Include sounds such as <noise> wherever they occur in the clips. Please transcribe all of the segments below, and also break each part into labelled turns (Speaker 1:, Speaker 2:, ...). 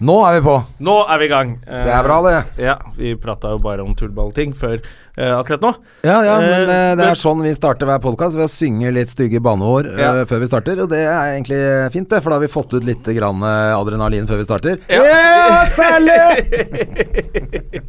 Speaker 1: Nå er vi på.
Speaker 2: Nå er vi i gang. Eh,
Speaker 1: Det er bra, det.
Speaker 2: Ja, vi prata jo bare om tullballting før eh, akkurat nå.
Speaker 1: Ja, ja, men
Speaker 2: Eh,
Speaker 1: eh, det
Speaker 2: men-
Speaker 1: er sånn vi starter hver podkast, ved å synge litt stygge banneord
Speaker 2: Ja.
Speaker 1: eh, før vi starter. Og det er egentlig fint, det, for da har vi fått ut litt grann eh, adrenalin før vi starter.
Speaker 2: Ja.
Speaker 1: Ja, særlig!
Speaker 2: <laughs>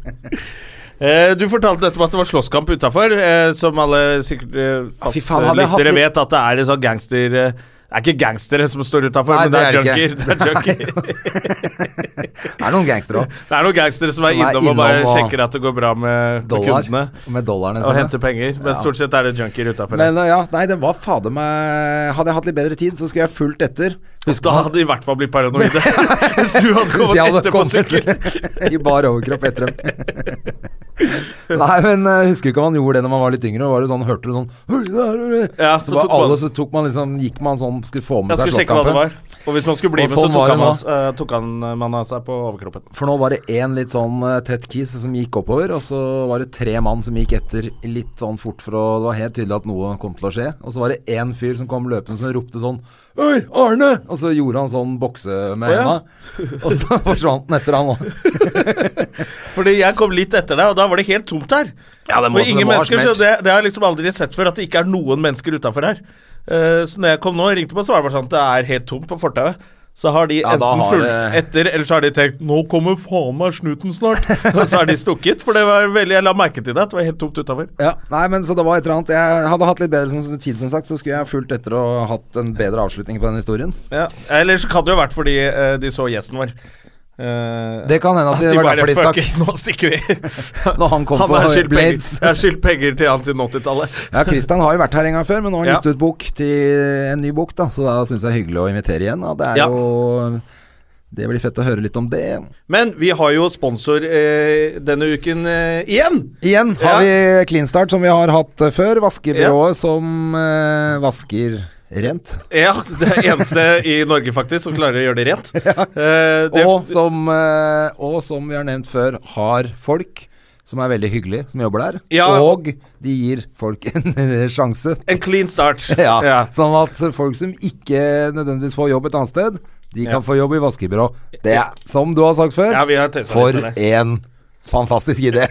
Speaker 2: Eh, du fortalte nettopp at det var slåsskamp utafor, eh, som alle sikkert eh,
Speaker 1: fy faen, hadde jeg hatt
Speaker 2: fastlyttere
Speaker 1: litt-
Speaker 2: vet at det er en sånn gangster eh, Det er ikke gangstere som står utafor,
Speaker 1: Nei,
Speaker 2: men det er,
Speaker 1: det er
Speaker 2: junkier. <laughs> Det er, junkier.
Speaker 1: Det er noen gangstere òg.
Speaker 2: det er noen gangstere som er
Speaker 1: <laughs> Som er
Speaker 2: innom og bare
Speaker 1: innom og-
Speaker 2: sjekker at det går bra med, med
Speaker 1: Dollar.
Speaker 2: kundene.
Speaker 1: Med dollarene
Speaker 2: Og
Speaker 1: sine.
Speaker 2: henter penger. Men stort sett er det junkier utafor.
Speaker 1: Men eh, ja, nei, det var fader meg Hadde jeg hatt litt bedre tid, så skulle jeg fulgt etter. <laughs> Husk
Speaker 2: Da hadde de i hvert fall
Speaker 1: <laughs>
Speaker 2: blitt paranoide. Hvis du
Speaker 1: Hvis
Speaker 2: hadde kommet
Speaker 1: jeg hadde
Speaker 2: etter på sykkel.
Speaker 1: kommet I bar overkropp etter dem.
Speaker 2: <laughs>
Speaker 1: Nei, men eh, husker du ikke om man gjorde det når man var litt yngre? Og var det sånn, hørte du sånn «Oi, der er det!»
Speaker 2: Ja,
Speaker 1: Så,
Speaker 2: så
Speaker 1: var
Speaker 2: tok man-
Speaker 1: alle, så tok man liksom, gikk man sånn, skulle få med
Speaker 2: Jeg
Speaker 1: seg
Speaker 2: skulle sjekke hva det
Speaker 1: slåsskampen.
Speaker 2: var. Og hvis man skulle bli
Speaker 1: Og
Speaker 2: med, så
Speaker 1: sånn var
Speaker 2: tok
Speaker 1: det
Speaker 2: han,
Speaker 1: nå.
Speaker 2: hans, eh, tok han eh, mannen av seg på overkroppen.
Speaker 1: For nå var det én litt sånn eh, tett kis som gikk oppover, og så var det tre mann som gikk etter litt sånn fort, for å, det var helt tydelig at noe kom til å skje. Og så var det én fyr som kom løpende som ropte sånn Oi, Arne! Og så gjorde han sånn bokse med
Speaker 2: Å, ja.
Speaker 1: henda, og så <laughs> forsvant han etter han òg.
Speaker 2: Fordi jeg kom litt etter deg, og da var det helt tomt her.
Speaker 1: Ja, det må-
Speaker 2: og
Speaker 1: så
Speaker 2: ingen
Speaker 1: det må ha
Speaker 2: mennesker, så
Speaker 1: smelt.
Speaker 2: det, det har jeg liksom aldri sett før, at det ikke er noen mennesker utafor her. Eh, så når jeg kom nå og ringte på, så var det bare sånn at det er helt tomt på fortauet. Så har de
Speaker 1: Ja, da
Speaker 2: enten
Speaker 1: har
Speaker 2: fulgt
Speaker 1: det-
Speaker 2: etter, eller så har de tenkt 'Nå kommer faen meg snuten snart'. <laughs> og så har de stukket. For det var veldig, jeg la merke til det, at det var helt tomt utafor.
Speaker 1: Ja, nei, men så det var et eller annet Jeg hadde hatt litt bedre som, tid, som sagt, så skulle jeg fulgt etter og hatt en bedre avslutning på den historien.
Speaker 2: Ja. Eller så kan det jo ha vært fordi eh, de så gjesten vår. Eh,
Speaker 1: Det kan hende at det var derfor
Speaker 2: bare,
Speaker 1: de
Speaker 2: "Fuck
Speaker 1: stakk.
Speaker 2: it, Nå stikker
Speaker 1: <laughs>
Speaker 2: vi.
Speaker 1: Når han kom
Speaker 2: han
Speaker 1: på
Speaker 2: har skyldt penger.
Speaker 1: Blades.
Speaker 2: Jeg har skyldt penger til han siden 80-tallet.
Speaker 1: Ja, Christian har jo vært her en gang før, men nå har han
Speaker 2: Ja.
Speaker 1: gitt ut bok til en ny bok, da. Så da syns jeg det er hyggelig å invitere igjen. Da. Det er
Speaker 2: Ja.
Speaker 1: jo Det blir fett å høre litt om det.
Speaker 2: Men vi har jo sponsor eh, denne uken eh, igjen.
Speaker 1: Igjen har
Speaker 2: Ja.
Speaker 1: vi Clean Start, som vi har hatt eh, før. Vaskebyrået som eh, vasker rent.
Speaker 2: Ja, det er eneste i Norge faktisk som klarer å gjøre det
Speaker 1: <laughs>
Speaker 2: rent. Eh, det,
Speaker 1: Og som, eh, og som vi har nevnt før, har folk som er veldig hyggelige, som jobber der.
Speaker 2: Ja.
Speaker 1: Og de gir folk en <laughs> sjanse.
Speaker 2: en clean start.
Speaker 1: <laughs> Ja.
Speaker 2: Ja.
Speaker 1: Sånn at folk som ikke nødvendigvis får jobb et annet sted, de kan
Speaker 2: Ja.
Speaker 1: få jobb i vaskebyrå. Det er, som du har sagt før,
Speaker 2: Ja, vi har tøysa
Speaker 1: for
Speaker 2: litt med
Speaker 1: en fantastisk idé.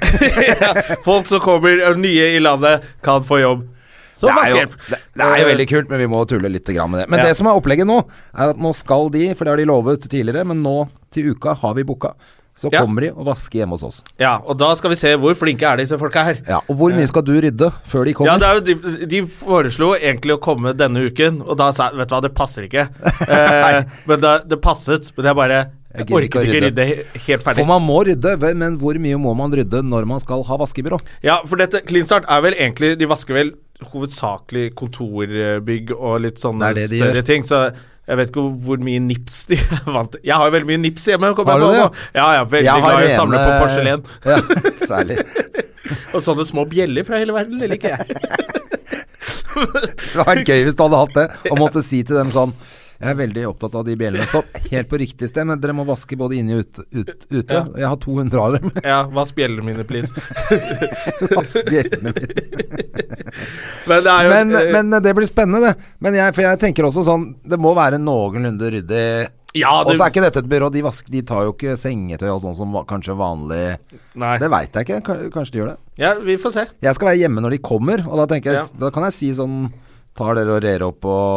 Speaker 2: <laughs> Folk som kommer eh, nye i landet, kan få jobb. <laughs> Så
Speaker 1: Det er, jo,
Speaker 2: vaskehjelp.
Speaker 1: det, det er jo veldig kult, men vi må tulle litt grann med det. Men
Speaker 2: Ja.
Speaker 1: det som er opplegget nå, er at nå skal de, for det har de lovet tidligere, men nå til uka har vi booka. Så
Speaker 2: Ja.
Speaker 1: kommer de og vasker hjemme hos oss.
Speaker 2: Ja, og da skal vi se hvor flinke er disse folka her.
Speaker 1: Ja, og hvor mye skal du rydde før de kommer?
Speaker 2: Ja, det er jo, de, de foreslo egentlig å komme denne uken, og da sa jeg vet du hva, det passer
Speaker 1: <laughs>
Speaker 2: ikke. Eh, men da, det passet, men jeg bare
Speaker 1: Jeg
Speaker 2: jeg
Speaker 1: gidder ikke
Speaker 2: orket
Speaker 1: å
Speaker 2: ikke
Speaker 1: rydde.
Speaker 2: rydde he- helt ferdig.
Speaker 1: For man må rydde, vel, men hvor mye må man rydde når man skal ha vaskebyrå?
Speaker 2: Ja, for dette Clean Start er vel egentlig De vasker vel hovedsakelig kontorbygg og litt
Speaker 1: Det
Speaker 2: sånne
Speaker 1: er det de
Speaker 2: større
Speaker 1: gjør.
Speaker 2: ting. Så jeg vet ikke hvor- hvor mye nips de <laughs> er vant til. Jeg har jo veldig mye nips hjemme. Kom
Speaker 1: Har
Speaker 2: jeg
Speaker 1: du
Speaker 2: på
Speaker 1: det,
Speaker 2: nå. Ja, ja, veldig glad i å samle på porselen.
Speaker 1: Ja, <laughs> særlig.
Speaker 2: Og sånne små bjeller fra hele verden, det
Speaker 1: <laughs>
Speaker 2: liker jeg.
Speaker 1: Det hadde vært gøy hvis du hadde hatt det, og måtte si til dem sånn jeg er veldig opptatt av de bjellene. Stopp. Helt på riktig sted, men dere må vaske både inne og ute. Ut, ute.
Speaker 2: Ja.
Speaker 1: Jeg har 200 av dem. <laughs>
Speaker 2: Ja, vask bjellene mine, please.
Speaker 1: Vask bjellene mine.
Speaker 2: <laughs> Men det er jo
Speaker 1: men,
Speaker 2: eh,
Speaker 1: men det blir spennende, det. Men jeg, for jeg tenker også sånn Det må være noenlunde ryddig.
Speaker 2: ja,
Speaker 1: Og
Speaker 2: det,
Speaker 1: så er ikke dette et byrå. De, vask, de tar jo ikke sengetøy og sånn som va- kanskje vanlig
Speaker 2: Nei.
Speaker 1: Det veit jeg ikke. Kan- Kanskje de gjør det.
Speaker 2: Ja, vi får se.
Speaker 1: Jeg skal være hjemme når de kommer, og da, tenker jeg, da kan jeg si sånn Tar dere og rer opp og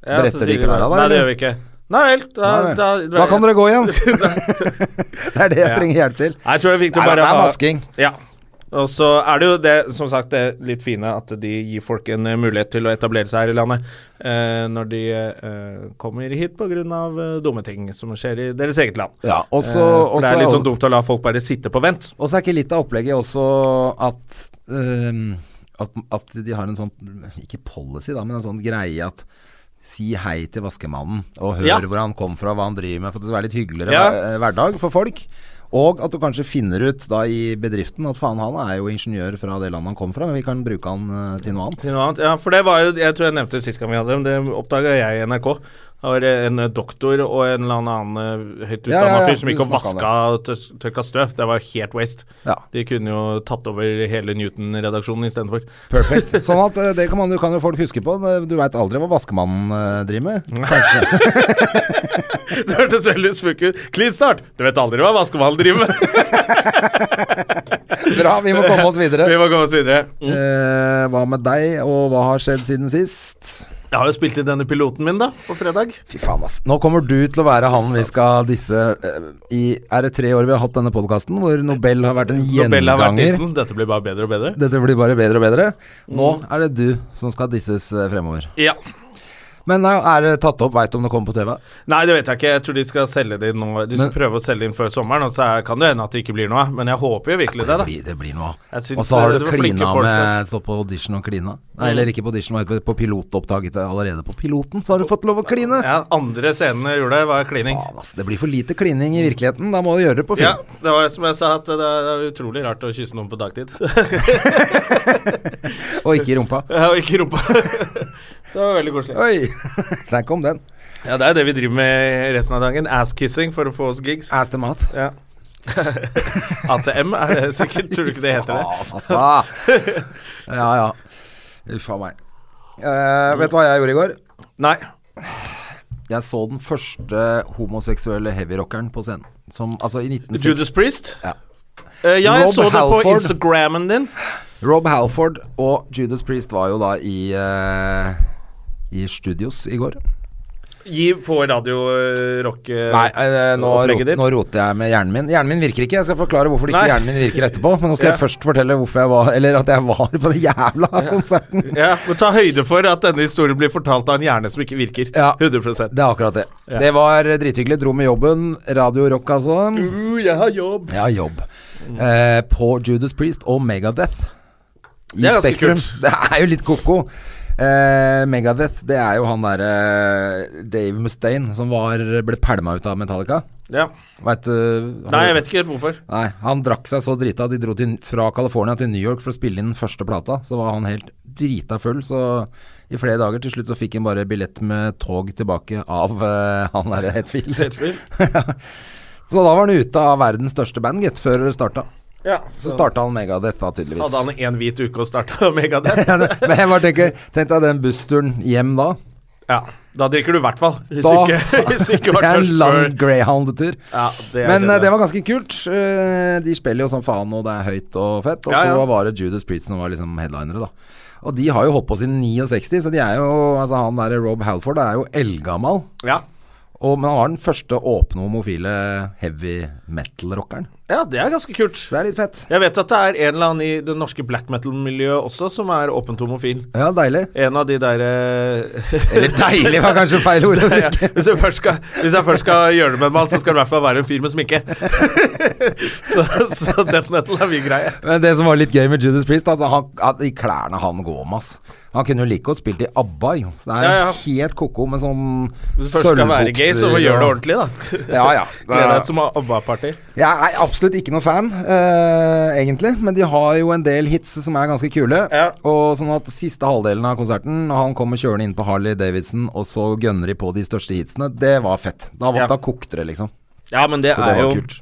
Speaker 2: Ja, så
Speaker 1: bretter de
Speaker 2: sier vi
Speaker 1: klærne der?
Speaker 2: bare, Nei, det
Speaker 1: eller?
Speaker 2: gjør vi ikke. Nei vel, da,
Speaker 1: Nei vel.
Speaker 2: da,
Speaker 1: Da kan
Speaker 2: <laughs>
Speaker 1: dere gå igjen. Det er det jeg
Speaker 2: Ja.
Speaker 1: trenger hjelp til.
Speaker 2: Nei, Jeg tror det er viktig å
Speaker 1: Nei,
Speaker 2: bare
Speaker 1: det er
Speaker 2: ha-
Speaker 1: vasking.
Speaker 2: Ja. Og så er det jo det, som sagt, det litt fine at de gir folk en eh, mulighet til å etablere seg her i landet eh, når de eh, kommer hit pga. Eh, dumme ting som skjer i deres eget land.
Speaker 1: Ja, og så-
Speaker 2: eh, for
Speaker 1: og
Speaker 2: det
Speaker 1: så-
Speaker 2: er litt sånn dumt å la folk bare sitte på vent.
Speaker 1: Og så er ikke litt av opplegget også at, ehm, at At de har en sånn Ikke policy, da, men en sånn greie at Si hei til vaskemannen, og hør
Speaker 2: Ja.
Speaker 1: hvor han kom fra, hva han driver med. For det skal være litt hyggeligere
Speaker 2: Ja.
Speaker 1: hver- hverdag for folk. Og at du kanskje finner ut da i bedriften at faen, han er jo ingeniør fra det landet han kom fra, men vi kan bruke han eh, til noe annet.
Speaker 2: Til noe annet. Ja, for det var jo Jeg tror jeg nevnte det sist gang vi hadde dem, det oppdaga jeg i NRK. Det var en eh, doktor og en eller annen eh, høyt
Speaker 1: Ja, ja,
Speaker 2: utdanna
Speaker 1: ja,
Speaker 2: fyr som
Speaker 1: vi
Speaker 2: gikk og
Speaker 1: snakket om
Speaker 2: vaska og tøs- tørka støv. Det var helt waste.
Speaker 1: Ja.
Speaker 2: De kunne jo tatt over hele Newton-redaksjonen istedenfor.
Speaker 1: <laughs> Perfect. Sånn at eh, det kan, man, kan jo folk huske på. Du veit aldri hva vaskemannen eh, driver <laughs> med. Kanskje.
Speaker 2: <laughs> Det hørtes veldig spooky ut. Clean start! Du vet aldri hva vaskemannen driver med.
Speaker 1: Bra, vi må komme oss videre.
Speaker 2: Vi må komme oss videre. Mm.
Speaker 1: Eh, hva med deg, og hva har skjedd siden sist?
Speaker 2: Jeg har jo spilt inn denne piloten min, da, på fredag.
Speaker 1: Fy faen, ass. Nå kommer du til å være han vi skal disse eh, I er det tre år vi har hatt denne podkasten, hvor Nobel har vært en
Speaker 2: Nobel har vært
Speaker 1: gjenganger.
Speaker 2: isen. Dette blir bare bedre og bedre.
Speaker 1: Dette blir bare bedre og bedre. Nå
Speaker 2: Mm.
Speaker 1: er det du som skal disses eh, fremover.
Speaker 2: Ja.
Speaker 1: Men eh, er det tatt opp? Veit du om det kommer på TV?
Speaker 2: Nei, det vet jeg ikke. Jeg tror de skal selge det inn nå. De skal
Speaker 1: Men-
Speaker 2: prøve å selge det inn før sommeren, og så er- kan det hende at det ikke blir noe av. Men jeg håper jo
Speaker 1: <laughs>
Speaker 2: virkelig det, da.
Speaker 1: blir, det blir noe av.
Speaker 2: Jeg syns,
Speaker 1: Og så har
Speaker 2: eh,
Speaker 1: du
Speaker 2: det var flinke
Speaker 1: klina
Speaker 2: folk, Mm.
Speaker 1: med Stå på audition og klina. Nei, eller ikke på audition, men på pilotopptaket allerede. På piloten så har du fått lov å kline.
Speaker 2: Ja, andre scenen jeg gjorde, var klining.
Speaker 1: Faen, ass, det blir for lite klining i virkeligheten. Da må du gjøre det på
Speaker 2: Ja,
Speaker 1: film.
Speaker 2: det var som jeg sa, at det er utrolig rart å kysse noen på dagtid. <laughs>
Speaker 1: Og ikke i rumpa.
Speaker 2: Og ikke rumpa. <laughs> Så det var veldig koselig.
Speaker 1: Oi! <laughs> Der kom den.
Speaker 2: Ja, det er det vi driver med resten av dagen. Ass-kissing for å få oss gigs.
Speaker 1: Ass to mouth.
Speaker 2: Ja. <laughs> ATM er det sikkert, tror du ikke det heter det?
Speaker 1: Faen, altså.
Speaker 2: <laughs>
Speaker 1: Ja, ja. Uff a meg. Eh, vet du hva jeg gjorde i går?
Speaker 2: Nei.
Speaker 1: Jeg så den første homoseksuelle heavyrockeren på scenen. Som, altså i 1960
Speaker 2: Judas Priest?
Speaker 1: Ja.
Speaker 2: Eh, ja, jeg
Speaker 1: Rob
Speaker 2: så det på
Speaker 1: Halford.
Speaker 2: Instagrammen din.
Speaker 1: Rob Halford og Judas Priest var jo da i eh, I studios i går.
Speaker 2: Gi på radio eh, rock eh,
Speaker 1: Nei, eh, nå,
Speaker 2: opplegget
Speaker 1: rot,
Speaker 2: ditt.
Speaker 1: nå roter jeg med hjernen min. Hjernen min virker ikke. Jeg skal forklare hvorfor ikke
Speaker 2: Nei.
Speaker 1: hjernen min virker etterpå. Men nå skal
Speaker 2: <laughs> Ja.
Speaker 1: jeg først fortelle hvorfor jeg var Eller at jeg var på den jævla konserten.
Speaker 2: <laughs> Ja, men Ta høyde for at denne historien blir fortalt av en hjerne som ikke virker.
Speaker 1: Ja.
Speaker 2: 100
Speaker 1: Det er akkurat det.
Speaker 2: Ja.
Speaker 1: Det var drithyggelig. Dro med jobben. Radio Rock, altså.
Speaker 2: Uh, jeg har jobb.
Speaker 1: Jeg har jobb. Eh, på Judas Priest og Megadeth. I
Speaker 2: Det er ganske
Speaker 1: Spektrum.
Speaker 2: kult.
Speaker 1: Det er jo litt ko-ko. Eh, Megadeth, det er jo han derre eh, Dave Mustaine som var, ble pælma ut av Metallica.
Speaker 2: Ja.
Speaker 1: Veit du
Speaker 2: Nei, jeg vet ikke helt hvorfor.
Speaker 1: Nei, han drakk seg så drita. De dro til, fra California til New York for å spille inn den første plata. Så var han helt drita full. Så i flere dager til slutt så fikk han bare billett med tog tilbake av eh, han derre
Speaker 2: <laughs>
Speaker 1: Hetfield.
Speaker 2: Helt
Speaker 1: <laughs> Så da var han ute av verdens største band, gitt, før det starta.
Speaker 2: ja,
Speaker 1: Så starta han Megadeth, da, tydeligvis. <laughs>
Speaker 2: Hadde han én hvit uke og starta <laughs> Megadeth?
Speaker 1: Men jeg bare tenker, tenk deg den bussturen hjem da.
Speaker 2: Ja. Da drikker du i hvert fall. Hvis
Speaker 1: Da-
Speaker 2: du ikke, <laughs> hvis du ikke
Speaker 1: Det
Speaker 2: var
Speaker 1: er
Speaker 2: tørst
Speaker 1: en
Speaker 2: før.
Speaker 1: lang greyhound-tur.
Speaker 2: Ja, det
Speaker 1: Men
Speaker 2: er
Speaker 1: eh,
Speaker 2: kjedelig.
Speaker 1: det var ganske kult. Eh, De spiller jo som faen, og det er høyt og fett. Og
Speaker 2: Ja, ja.
Speaker 1: så var det Judas Priest som var liksom headlinere, da. Og de har jo holdt på siden 69, så de er jo Altså, han der Rob Halford er jo eldgammal.
Speaker 2: ja.
Speaker 1: Og, men han var den første åpne homofile heavy metal-rockeren.
Speaker 2: ja, det er ganske kult.
Speaker 1: Så det er litt fett.
Speaker 2: Jeg vet at det er en eller annen i det norske black metal-miljøet også som er åpent homofil.
Speaker 1: Ja, deilig.
Speaker 2: <laughs> En av de eh, derre
Speaker 1: Eller deilig var kanskje feil ord. å
Speaker 2: ja,
Speaker 1: bruke.
Speaker 2: hvis, jeg først skal, hvis jeg først skal gjøre det med en mann, så skal det i hvert fall være en fyr med sminke. <laughs> så, så death metal er min greie.
Speaker 1: Men det som var litt gøy med Judas Priest, altså han, at de klærne han går med, ass. Han kunne jo like godt spilt i ABBA. jo. Så Det er
Speaker 2: Ja, ja.
Speaker 1: helt ko-ko med sånn
Speaker 2: Hvis du først skal være gay, så må gjøre det ordentlig, <laughs> da.
Speaker 1: Ja, ja.
Speaker 2: Kle deg ut som ABBA-party.
Speaker 1: Jeg er absolutt ikke noe fan, eh, egentlig. Men de har jo en del hits som er ganske kule.
Speaker 2: Ja.
Speaker 1: Og sånn at siste halvdelen av konserten, når han kommer kjørende inn på Harley Davidson, og så gønner de på de største hitsene, det var fett. Da,
Speaker 2: Ja.
Speaker 1: da kokte det, liksom.
Speaker 2: Ja, men det,
Speaker 1: Så det
Speaker 2: er
Speaker 1: var
Speaker 2: jo
Speaker 1: kult.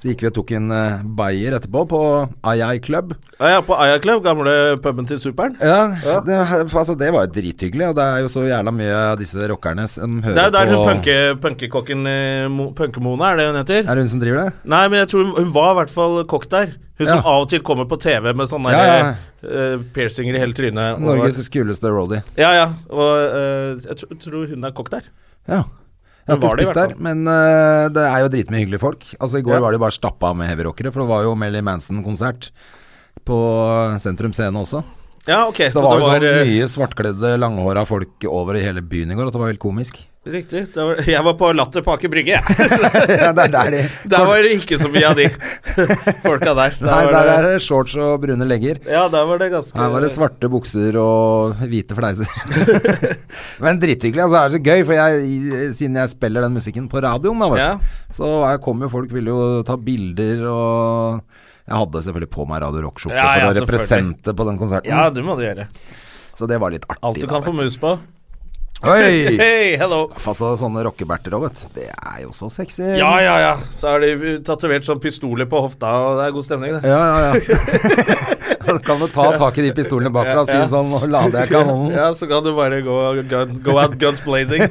Speaker 1: Så gikk vi og tok en eh, bayer etterpå, på Ai Ai Club.
Speaker 2: Ja, ja, på Aya Club, gamle puben til Superen.
Speaker 1: Ja,
Speaker 2: Ja.
Speaker 1: Det, altså, det var jo drithyggelig, og det er jo så jævla mye av disse rockerne som
Speaker 2: Det er
Speaker 1: hører
Speaker 2: jo der hun
Speaker 1: på
Speaker 2: punke, punkekokken eh, Mo- Punkemona, er det hun heter?
Speaker 1: Er det hun som driver det?
Speaker 2: Nei, men jeg tror hun, hun var i hvert fall kokk der. Hun som
Speaker 1: Ja.
Speaker 2: av og til kommer på TV med sånne
Speaker 1: Ja, ja.
Speaker 2: eh, piercinger i hele trynet. Og,
Speaker 1: Norges kuleste roadie.
Speaker 2: ja, ja. Og eh, jeg tr tror hun er kokk der.
Speaker 1: Ja. Jeg har
Speaker 2: Hun var
Speaker 1: ikke
Speaker 2: det i
Speaker 1: spist
Speaker 2: hvert
Speaker 1: der, men eh, det er jo dritmye hyggelige folk. Altså I går
Speaker 2: Ja.
Speaker 1: var det jo bare stappa med heavyrockere, for det var jo Melly Manson-konsert på Sentrum Scene også.
Speaker 2: Ja, ok,
Speaker 1: Så det var jo sånn
Speaker 2: eh,
Speaker 1: mye svartkledde, langhåra folk over i hele byen i går, at det var helt
Speaker 2: <laughs>
Speaker 1: komisk. <laughs>
Speaker 2: Riktig. Det var, jeg var på Latter på Aker Brygge, jeg.
Speaker 1: ja, det er der de
Speaker 2: der var det ikke så mye av de folka der. der
Speaker 1: <laughs> Nei,
Speaker 2: var
Speaker 1: der
Speaker 2: det,
Speaker 1: er det shorts og brune legger.
Speaker 2: Ja, der var det ganske
Speaker 1: Her var det svarte bukser og hvite fleiser. <laughs> Men drithyggelig. Altså, det er så gøy, for jeg, siden jeg spiller den musikken på radioen, da, vet,
Speaker 2: Ja.
Speaker 1: du, så er- kom jo folk ville jo ta bilder og Jeg hadde selvfølgelig på meg Radio Rock-skjorte
Speaker 2: Ja,
Speaker 1: for
Speaker 2: ja,
Speaker 1: å
Speaker 2: selvfølgelig.
Speaker 1: represente på den konserten,
Speaker 2: Ja, det må du gjøre.
Speaker 1: så det var litt artig.
Speaker 2: Alt
Speaker 1: da,
Speaker 2: du kan få
Speaker 1: vet
Speaker 2: mus på.
Speaker 1: Oi!
Speaker 2: <laughs> Hei, hello!
Speaker 1: Altså, sånne rockeberter òg, vet du. Det er jo så sexy.
Speaker 2: Ja, ja, ja. Så er de tatovert sånn pistoler på hofta, og det er god stemning,
Speaker 1: <laughs>
Speaker 2: det.
Speaker 1: Ja, ja, ja. Da kan du ta tak i de pistolene bakfra og si
Speaker 2: Ja, ja.
Speaker 1: sånn Nå lader jeg kanonen.
Speaker 2: Ja, så kan du bare gå gun, go out guns
Speaker 1: <laughs>
Speaker 2: blazing.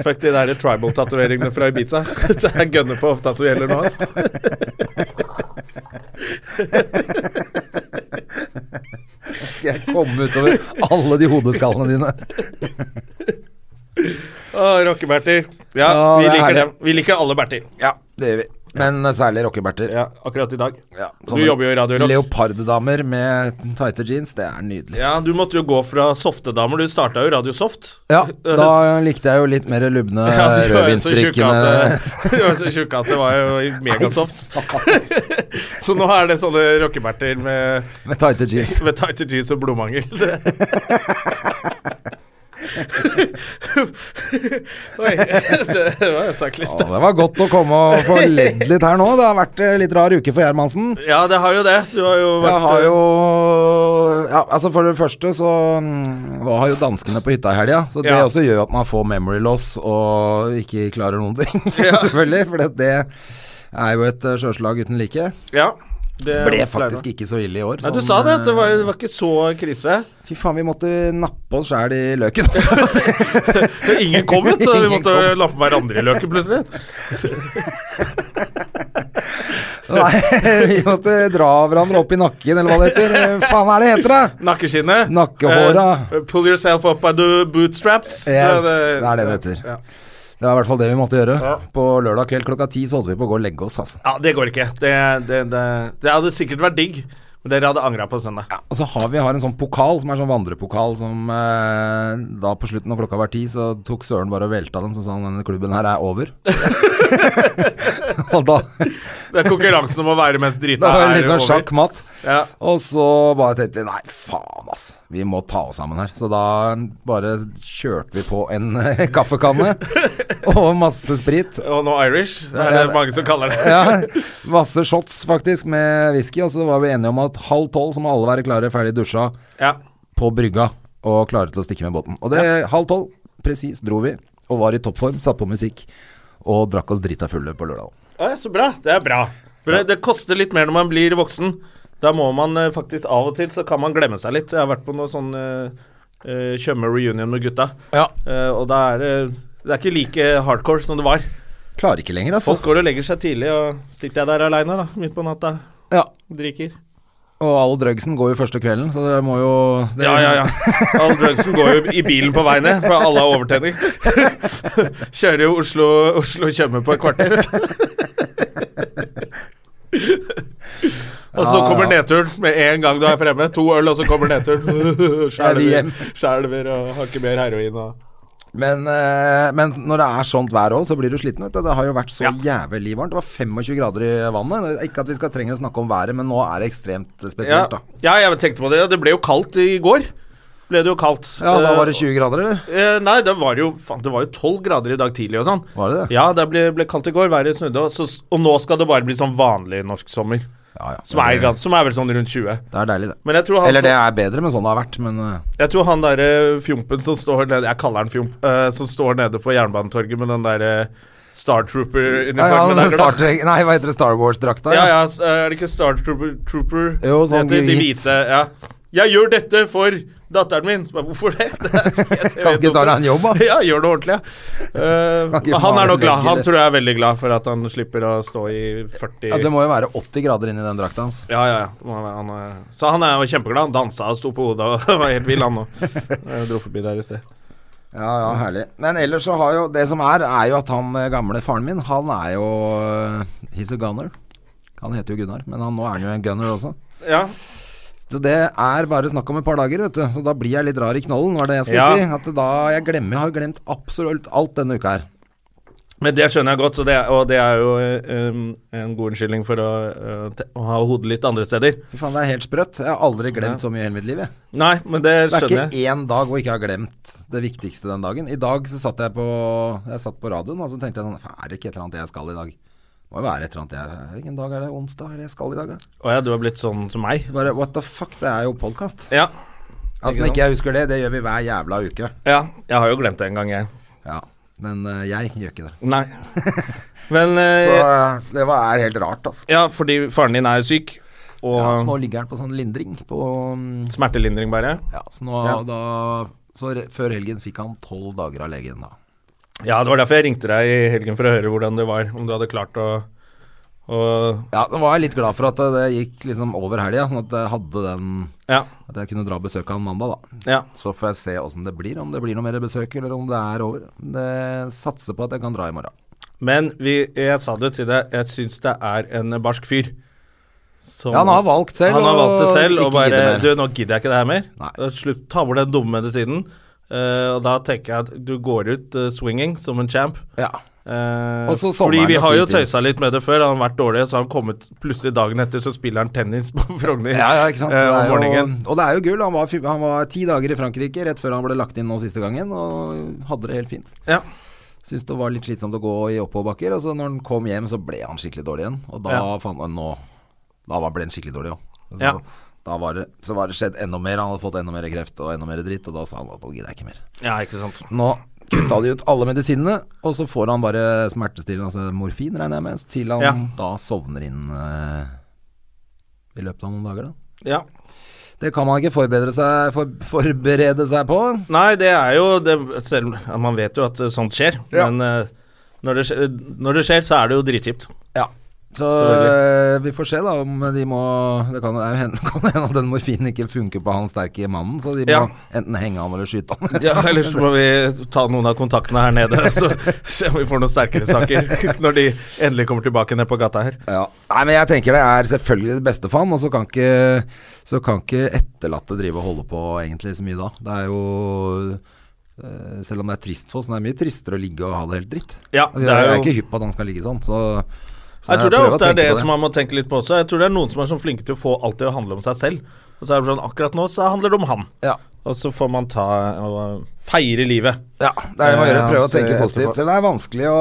Speaker 2: Fuck de der tribal-tatoveringene fra Ibiza. <laughs> Det er gunner på hofta som gjelder nå, ass.
Speaker 1: Skal jeg komme utover alle de hodeskallene dine.
Speaker 2: Å, rockeberter.
Speaker 1: Ja, det
Speaker 2: Ja, vi
Speaker 1: er
Speaker 2: liker
Speaker 1: herlig.
Speaker 2: dem. Vi liker alle berter.
Speaker 1: Ja, det gjør vi. Men eh, særlig rockeberter.
Speaker 2: Ja, akkurat i dag.
Speaker 1: Ja,
Speaker 2: Du jobber jo i Radio Rock.
Speaker 1: Leoparddamer med tighte jeans, det er nydelig.
Speaker 2: Ja, du måtte jo gå fra softedamer. Du starta jo Radio Soft. <laughs>
Speaker 1: Ja, da likte jeg jo litt mer lubne
Speaker 2: Ja, du var jo så tjukk at
Speaker 1: rødvinsdrikkende
Speaker 2: eh, det- <laughs> du var jo så tjukk at det var jo megasoft. <laughs> så nå er det sånne rockeberter med,
Speaker 1: <laughs> med tighte
Speaker 2: <laughs>
Speaker 1: jeans.
Speaker 2: med tighter jeans og <laughs> blodmangel. Oi, <laughs> det var
Speaker 1: Å,
Speaker 2: saklist.
Speaker 1: det var godt å komme og få ledd litt her nå. Det har vært eh, litt rar uke for Gjermansen.
Speaker 2: Ja, det har jo det. Du har jo vært eh,
Speaker 1: Jeg har jo ja, altså For det første så mm, var jo danskene på hytta i helga, så det
Speaker 2: Ja.
Speaker 1: også gjør jo at man får memory loss og ikke klarer noen ting, <laughs> selvfølgelig. For det- det er jo et eh, sjøslag uten like.
Speaker 2: eh, Ja. Det
Speaker 1: Ble faktisk ikke så ille i år.
Speaker 2: Nei, du
Speaker 1: sånn,
Speaker 2: sa det. at Det var,
Speaker 1: eh,
Speaker 2: det var ikke så <laughs> krise.
Speaker 1: Fy faen, vi måtte nappe oss sjæl i løken. <laughs>
Speaker 2: Ingen kom ut, så vi
Speaker 1: Ingen
Speaker 2: måtte lappe hverandre i løken plutselig.
Speaker 1: Nei, vi måtte dra hverandre opp i nakken, eller hva det heter. Eh, Faen er det heter, da?
Speaker 2: Nakkeskinnet.
Speaker 1: Nakkehåra.
Speaker 2: Eh, pull yourself up by the bootstraps.
Speaker 1: Yes, det er det det heter.
Speaker 2: Ja.
Speaker 1: Det var i hvert fall det vi måtte gjøre.
Speaker 2: Ja.
Speaker 1: På lørdag kveld klokka ti så holdt vi på å gå og legge oss, altså.
Speaker 2: ja, det går ikke. Det, det, det, det hadde sikkert vært digg, men dere hadde angra på søndag.
Speaker 1: Og så har vi har en sånn pokal, som er en sånn vandrepokal, som eh, da på slutten når klokka var ti, så tok Søren bare og velta den, så sa han denne klubben her er over. <laughs> og da,
Speaker 2: Det er konkurransen om å være mest
Speaker 1: <laughs>
Speaker 2: drita.
Speaker 1: da var det
Speaker 2: er
Speaker 1: litt sånn
Speaker 2: over.
Speaker 1: sjakk matt.
Speaker 2: Ja.
Speaker 1: Og så bare tenkte vi nei, faen ass, vi må ta oss sammen her. Så da bare kjørte vi på en <laughs> eh, kaffekanne og masse sprit.
Speaker 2: Og nå Irish. Det er det mange som kaller det.
Speaker 1: Ja, masse shots faktisk med whisky, og så var vi enige om at halv tolv så må alle være klare, ferdig dusja,
Speaker 2: Ja.
Speaker 1: på brygga og klare til å stikke med båten. Og det halv tolv, presis, dro vi og var i toppform, satt på musikk og drakk oss drita fulle på lørdag.
Speaker 2: Ja, så bra. Det er bra. For det, det koster litt mer når man blir voksen. Da må man eh, faktisk av og til så kan man glemme seg litt. Jeg har vært på noe sånn eh, eh, Tjøme reunion med gutta,
Speaker 1: Ja.
Speaker 2: Eh, og da er det Det er ikke like hardcore som det var.
Speaker 1: Klarer ikke lenger, altså.
Speaker 2: Folk går og legger seg tidlig, og sitter jeg der aleine midt på natta
Speaker 1: Ja.
Speaker 2: drikker.
Speaker 1: Og all drugsen går jo første kvelden, så det må jo det,
Speaker 2: Ja, ja, ja. All drugsen går jo i bilen på vei ned, for alle har overtenning. <laughs> Kjører jo Oslo- Oslo-Tjøme på et kvarter. Og så
Speaker 1: Ja,
Speaker 2: kommer
Speaker 1: ja.
Speaker 2: nedturen med en gang du er fremme. To øl, og så kommer <laughs> nedturen. Skjelver,
Speaker 1: hjem.
Speaker 2: skjelver og har ikke mer heroin. Og.
Speaker 1: Men, eh, men når det er sånt vær òg, så blir du sliten. Vet du. Det har jo vært så
Speaker 2: Ja.
Speaker 1: jævlig varmt. Det var 25 grader i vannet. Ikke at vi skal trenger å snakke om været, men nå er det ekstremt
Speaker 2: Ja.
Speaker 1: spesielt, da.
Speaker 2: ja, jeg tenkte på det. Det ble jo kaldt i går. Ble det jo kaldt.
Speaker 1: Ja, da var det
Speaker 2: Eh,
Speaker 1: 20 grader, eller?
Speaker 2: Eh, nei, det var jo faen, det var jo 12 grader i dag tidlig og sånn.
Speaker 1: Var det det?
Speaker 2: Ja, det ble, ble kaldt i går, været snudde, og, så, og nå skal det bare bli sånn vanlig norsk sommer.
Speaker 1: Ja, ja.
Speaker 2: Som er, gans- som er vel sånn rundt 20.
Speaker 1: Det er deilig, det.
Speaker 2: Men jeg tror han,
Speaker 1: Eller det er bedre, men sånn det har vært. Men eh,
Speaker 2: jeg tror han derre fjompen som står nede Jeg kaller han fjomp. eh, som står nede på Jernbanetorget med den derre
Speaker 1: ja,
Speaker 2: Star
Speaker 1: ja, men
Speaker 2: Trooper-uniformen der.
Speaker 1: Star
Speaker 2: da.
Speaker 1: Trek Nei, hva heter det? Star Wars-drakta?
Speaker 2: Ja, ja, s- eh, er det ikke Star Trooper, Trooper
Speaker 1: Jo,
Speaker 2: det
Speaker 1: sånn
Speaker 2: heter? De
Speaker 1: hvit.
Speaker 2: hvite. Ja. Jeg gjør dette for datteren min. Så bare, Hvorfor det? <laughs> det er, så- jeg ser
Speaker 1: Kan
Speaker 2: helt
Speaker 1: ikke ta
Speaker 2: dumt
Speaker 1: deg
Speaker 2: ut.
Speaker 1: en jobb, da.
Speaker 2: <laughs> Ja, gjør det ordentlig, ja. Eh,
Speaker 1: Kan ikke
Speaker 2: men han
Speaker 1: male
Speaker 2: er nå
Speaker 1: en
Speaker 2: glad.
Speaker 1: vegg,
Speaker 2: Han
Speaker 1: eller?
Speaker 2: tror jeg er veldig glad for at han slipper å stå i 40
Speaker 1: Ja, det må jo være 80 grader inn i den drakta hans.
Speaker 2: Ja, ja, ja. Han er- han er- Så han er jo kjempeglad. Han dansa og sto på hodet og <laughs> var helt vill, han nå. Jeg dro forbi der i sted.
Speaker 1: Ja, ja, herlig. Men ellers så har jo Det som er, er jo at han eh, gamle faren min, han er jo eh, He's a gunner. Han heter jo Gunnar, men han, nå er han jo en gunner også.
Speaker 2: Ja.
Speaker 1: Så det er bare snakk om et par dager, vet du. Så da blir jeg litt rar i knollen, var det jeg skulle
Speaker 2: Ja.
Speaker 1: si. At da, jeg glemmer, jeg har jo glemt absolutt alt denne uka her.
Speaker 2: Men det skjønner jeg godt, så det, og det er jo eh, um, en god unnskyldning for å, eh, te- å ha hodet litt andre steder.
Speaker 1: Fy faen, det er helt sprøtt. Jeg har aldri glemt så mye i hele mitt liv, jeg.
Speaker 2: Nei, men det
Speaker 1: Det er
Speaker 2: skjønner jeg.
Speaker 1: ikke én dag hvor jeg ikke har glemt det viktigste den dagen. I dag så satt jeg på, jeg satt på radioen og så tenkte jeg sånn "Faen, Er det ikke et eller annet jeg skal i dag? Det må jo være et eller annet jeg Hvilken dag er det? Onsdag? Er det jeg skal i dag? da?"
Speaker 2: Å ja, du har blitt sånn som meg.
Speaker 1: Bare what the fuck, det er jo podkast.
Speaker 2: Ja.
Speaker 1: Altså, når ikke jeg husker det, det gjør vi hver jævla uke.
Speaker 2: Ja, jeg har jo glemt det en gang, jeg.
Speaker 1: Ja. Men eh, jeg gjør ikke det. <laughs>
Speaker 2: Nei. Men
Speaker 1: Så
Speaker 2: eh,
Speaker 1: eh, det var, er helt rart, altså.
Speaker 2: Ja, fordi faren din er jo syk, og
Speaker 1: Ja, nå ligger han på sånn lindring på mm,
Speaker 2: smertelindring bare.
Speaker 1: Ja, så nå
Speaker 2: Ja.
Speaker 1: da Så re- før helgen fikk han tolv dager av legen, da.
Speaker 2: Ja, det var derfor jeg ringte deg i helgen for å høre hvordan det var, om du hadde klart å, å
Speaker 1: Ja, nå var jeg litt glad for at det gikk liksom over helga, sånn at jeg hadde den
Speaker 2: Ja.
Speaker 1: At jeg kunne dra og besøke han mandag, da.
Speaker 2: Ja.
Speaker 1: Så får jeg se åssen det blir, om det blir noe mer besøk, eller om det er over. Det satser på at jeg kan dra i morgen.
Speaker 2: Men vi, jeg sa det til deg, jeg syns det er en barsk fyr. Som,
Speaker 1: Ja, han har valgt selv,
Speaker 2: Han har
Speaker 1: og
Speaker 2: valgt det selv, og
Speaker 1: ikke
Speaker 2: bare
Speaker 1: gidder mer.
Speaker 2: Du, nå gidder jeg ikke det her mer.
Speaker 1: Nei.
Speaker 2: Da Slutt, ta bort den dumme medisinen. Eh, og da tenker jeg at du går ut eh, swinging som en champ.
Speaker 1: Ja.
Speaker 2: Eh,
Speaker 1: Og så
Speaker 2: fordi
Speaker 1: sommeren
Speaker 2: vi
Speaker 1: og
Speaker 2: har jo
Speaker 1: fritid.
Speaker 2: tøysa litt med det før. Han har vært dårlig, så har han kommet plutselig dagen etter, så spiller han tennis på Frogner
Speaker 1: Ja, ja, ikke sant.
Speaker 2: eh,
Speaker 1: Det
Speaker 2: om
Speaker 1: er jo,
Speaker 2: morgenen.
Speaker 1: og det er jo gull. Han var, fy- han var ti dager i Frankrike rett før han ble lagt inn nå siste gangen, og hadde det helt fint.
Speaker 2: Ja.
Speaker 1: Syntes det var litt slitsomt å gå i oppoverbakker. Og så når han kom hjem, så ble han skikkelig dårlig igjen. Og da
Speaker 2: Ja.
Speaker 1: fant han nå Da var- ble han skikkelig dårlig òg. Så,
Speaker 2: Ja.
Speaker 1: da var det, så var det skjedd enda mer. Han hadde fått enda mer kreft og enda mer dritt, og da sa han at nå gidder jeg ikke mer.
Speaker 2: ja, ikke sant.
Speaker 1: Nå kutta de ut alle medisinene, og så får han bare smertestillende, altså morfin, regner jeg med, til han
Speaker 2: Ja.
Speaker 1: da sovner inn eh, i løpet av noen dager, da.
Speaker 2: Ja.
Speaker 1: Det kan man ikke forberede seg, for, forberede seg på.
Speaker 2: Nei, det er jo det, selv, ja, Man vet jo at eh, sånt skjer,
Speaker 1: Ja.
Speaker 2: men eh, når, det skjer, når det skjer, så er det jo dritkjipt.
Speaker 1: Ja. Så eh, vi får se da om de må Det kan jo det er jo hende <laughs> kan hende at den morfinen ikke funker på han sterke mannen, så de må
Speaker 2: Ja.
Speaker 1: enten henge han eller skyte han.
Speaker 2: <laughs> <laughs> Ja, ellers må vi ta noen av kontaktene her nede, så <laughs> ser vi om vi får noen sterkere <laughs> saker når de endelig kommer tilbake ned på gata her.
Speaker 1: Ja. Nei, men jeg tenker det er selvfølgelig det beste for han, og så kan ikke, så kan ikke etterlatte drive og holde på egentlig så mye da. Det er jo eh, Selv om det er trist for oss, men det er mye tristere å ligge og ha det helt dritt.
Speaker 2: Ja,
Speaker 1: Vi
Speaker 2: det
Speaker 1: er,
Speaker 2: er
Speaker 1: ikke
Speaker 2: jo
Speaker 1: hypp på at han skal ligge sånn, så, så
Speaker 2: Jeg tror det
Speaker 1: prøver å
Speaker 2: ofte er
Speaker 1: tenke
Speaker 2: det
Speaker 1: på
Speaker 2: som man må tenke litt på også. Jeg tror det er noen som er sånn flinke til å få alt til å handle om seg selv. Og så er det sånn akkurat nå så handler det om han.
Speaker 1: ja.
Speaker 2: Og så får man ta og feire livet.
Speaker 1: Ja, det er bare å
Speaker 2: Eh,
Speaker 1: prøve å
Speaker 2: altså,
Speaker 1: tenke
Speaker 2: etterpå.
Speaker 1: positivt. Selv om det er vanskelig å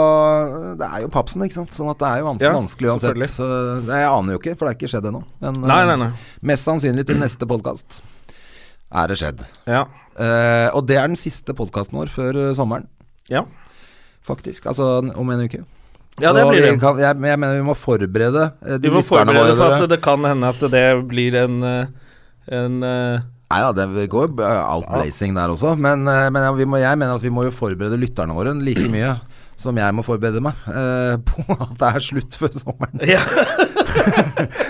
Speaker 1: Det er jo papsen, ikke sant. Sånn at det er jo vans-
Speaker 2: Ja,
Speaker 1: vanskelig uansett.
Speaker 2: selvfølgelig.
Speaker 1: Så det- jeg aner jo ikke, for det er ikke skjedd ennå. Men
Speaker 2: Nei,
Speaker 1: eh,
Speaker 2: nei, nei.
Speaker 1: mest sannsynlig til neste podkast er det skjedd.
Speaker 2: Ja.
Speaker 1: Eh, og det er den siste podkasten vår før eh, sommeren,
Speaker 2: Ja,
Speaker 1: faktisk. Altså n- om en uke.
Speaker 2: ja det
Speaker 1: Så
Speaker 2: blir
Speaker 1: vi
Speaker 2: det.
Speaker 1: Kan, jeg, men jeg mener vi må forberede eh, de
Speaker 2: Vi må
Speaker 1: lytterne
Speaker 2: forberede
Speaker 1: våre.
Speaker 2: for at det kan hende at det blir en, eh, en eh, <laughs>
Speaker 1: Nei da, det går jo outblazing der også. Men, eh, men ja, vi må, jeg mener at vi må jo forberede lytterne våre like mye som jeg må forberede meg eh, på at det er slutt før sommeren.
Speaker 2: ja.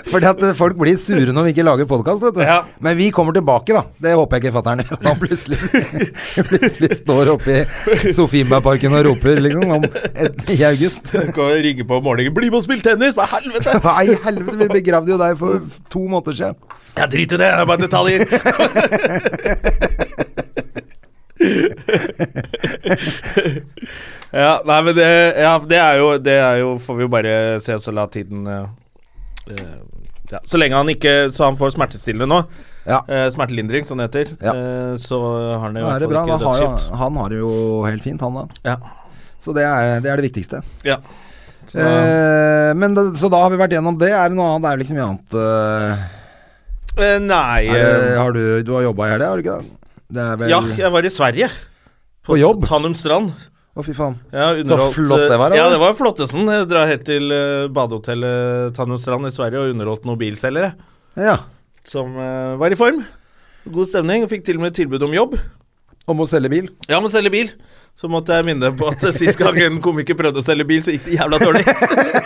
Speaker 1: Fordi at eh, folk blir sure når vi ikke lager podkast, vet du.
Speaker 2: Ja.
Speaker 1: Men vi kommer tilbake, da. Det håper jeg ikke fatter'n gjør. Han plutselig, plutselig <laughs> står oppe i Sofienbergparken og roper, liksom, om et, i august.
Speaker 2: Kan vi ringe på om morgenen 'Bli med og spill tennis!' Hva i helvete?
Speaker 1: Hva i helvete, vi begravde jo deg for to måneder siden.
Speaker 2: Jeg driter i det, det er bare detaljer. <laughs> ja, nei, men det, ja, det er jo Det er jo, får vi jo bare se så la tiden eh, eh, ja. Så lenge han ikke Så han får smertestillende nå,
Speaker 1: Ja.
Speaker 2: eh, smertelindring, som det heter,
Speaker 1: Ja.
Speaker 2: eh, så har han det i
Speaker 1: Da er
Speaker 2: hvert
Speaker 1: det
Speaker 2: fall
Speaker 1: bra.
Speaker 2: ikke
Speaker 1: Da har jo,
Speaker 2: dødsskitt.
Speaker 1: han har det jo helt fint, han da.
Speaker 2: Ja.
Speaker 1: Så det er det, er det viktigste.
Speaker 2: ja. Så,
Speaker 1: Eh, men da, så da har vi vært gjennom det. Er det noe annet? Det er vel ikke så mye annet. eh,
Speaker 2: eh, nei
Speaker 1: er det,
Speaker 2: eh,
Speaker 1: har du, du har jobba i helga, har du ikke det? Det er vel
Speaker 2: Ja, jeg var i Sverige.
Speaker 1: På jobb?
Speaker 2: Tanum strand.
Speaker 1: Å, fy faen.
Speaker 2: Ja, underholdt,
Speaker 1: flott det var, da.
Speaker 2: Ja, det var flottesen. Jeg drar helt til eh, badehotellet Tanumstrand i Sverige og underholdt noen bilselgere
Speaker 1: Ja.
Speaker 2: som eh, var i form. God stemning. og Fikk til og med tilbud om jobb.
Speaker 1: Om å selge bil.
Speaker 2: Ja, men selge bil. Så måtte jeg minne på at sist gang en komiker prøvde å selge bil, så gikk det jævla dårlig.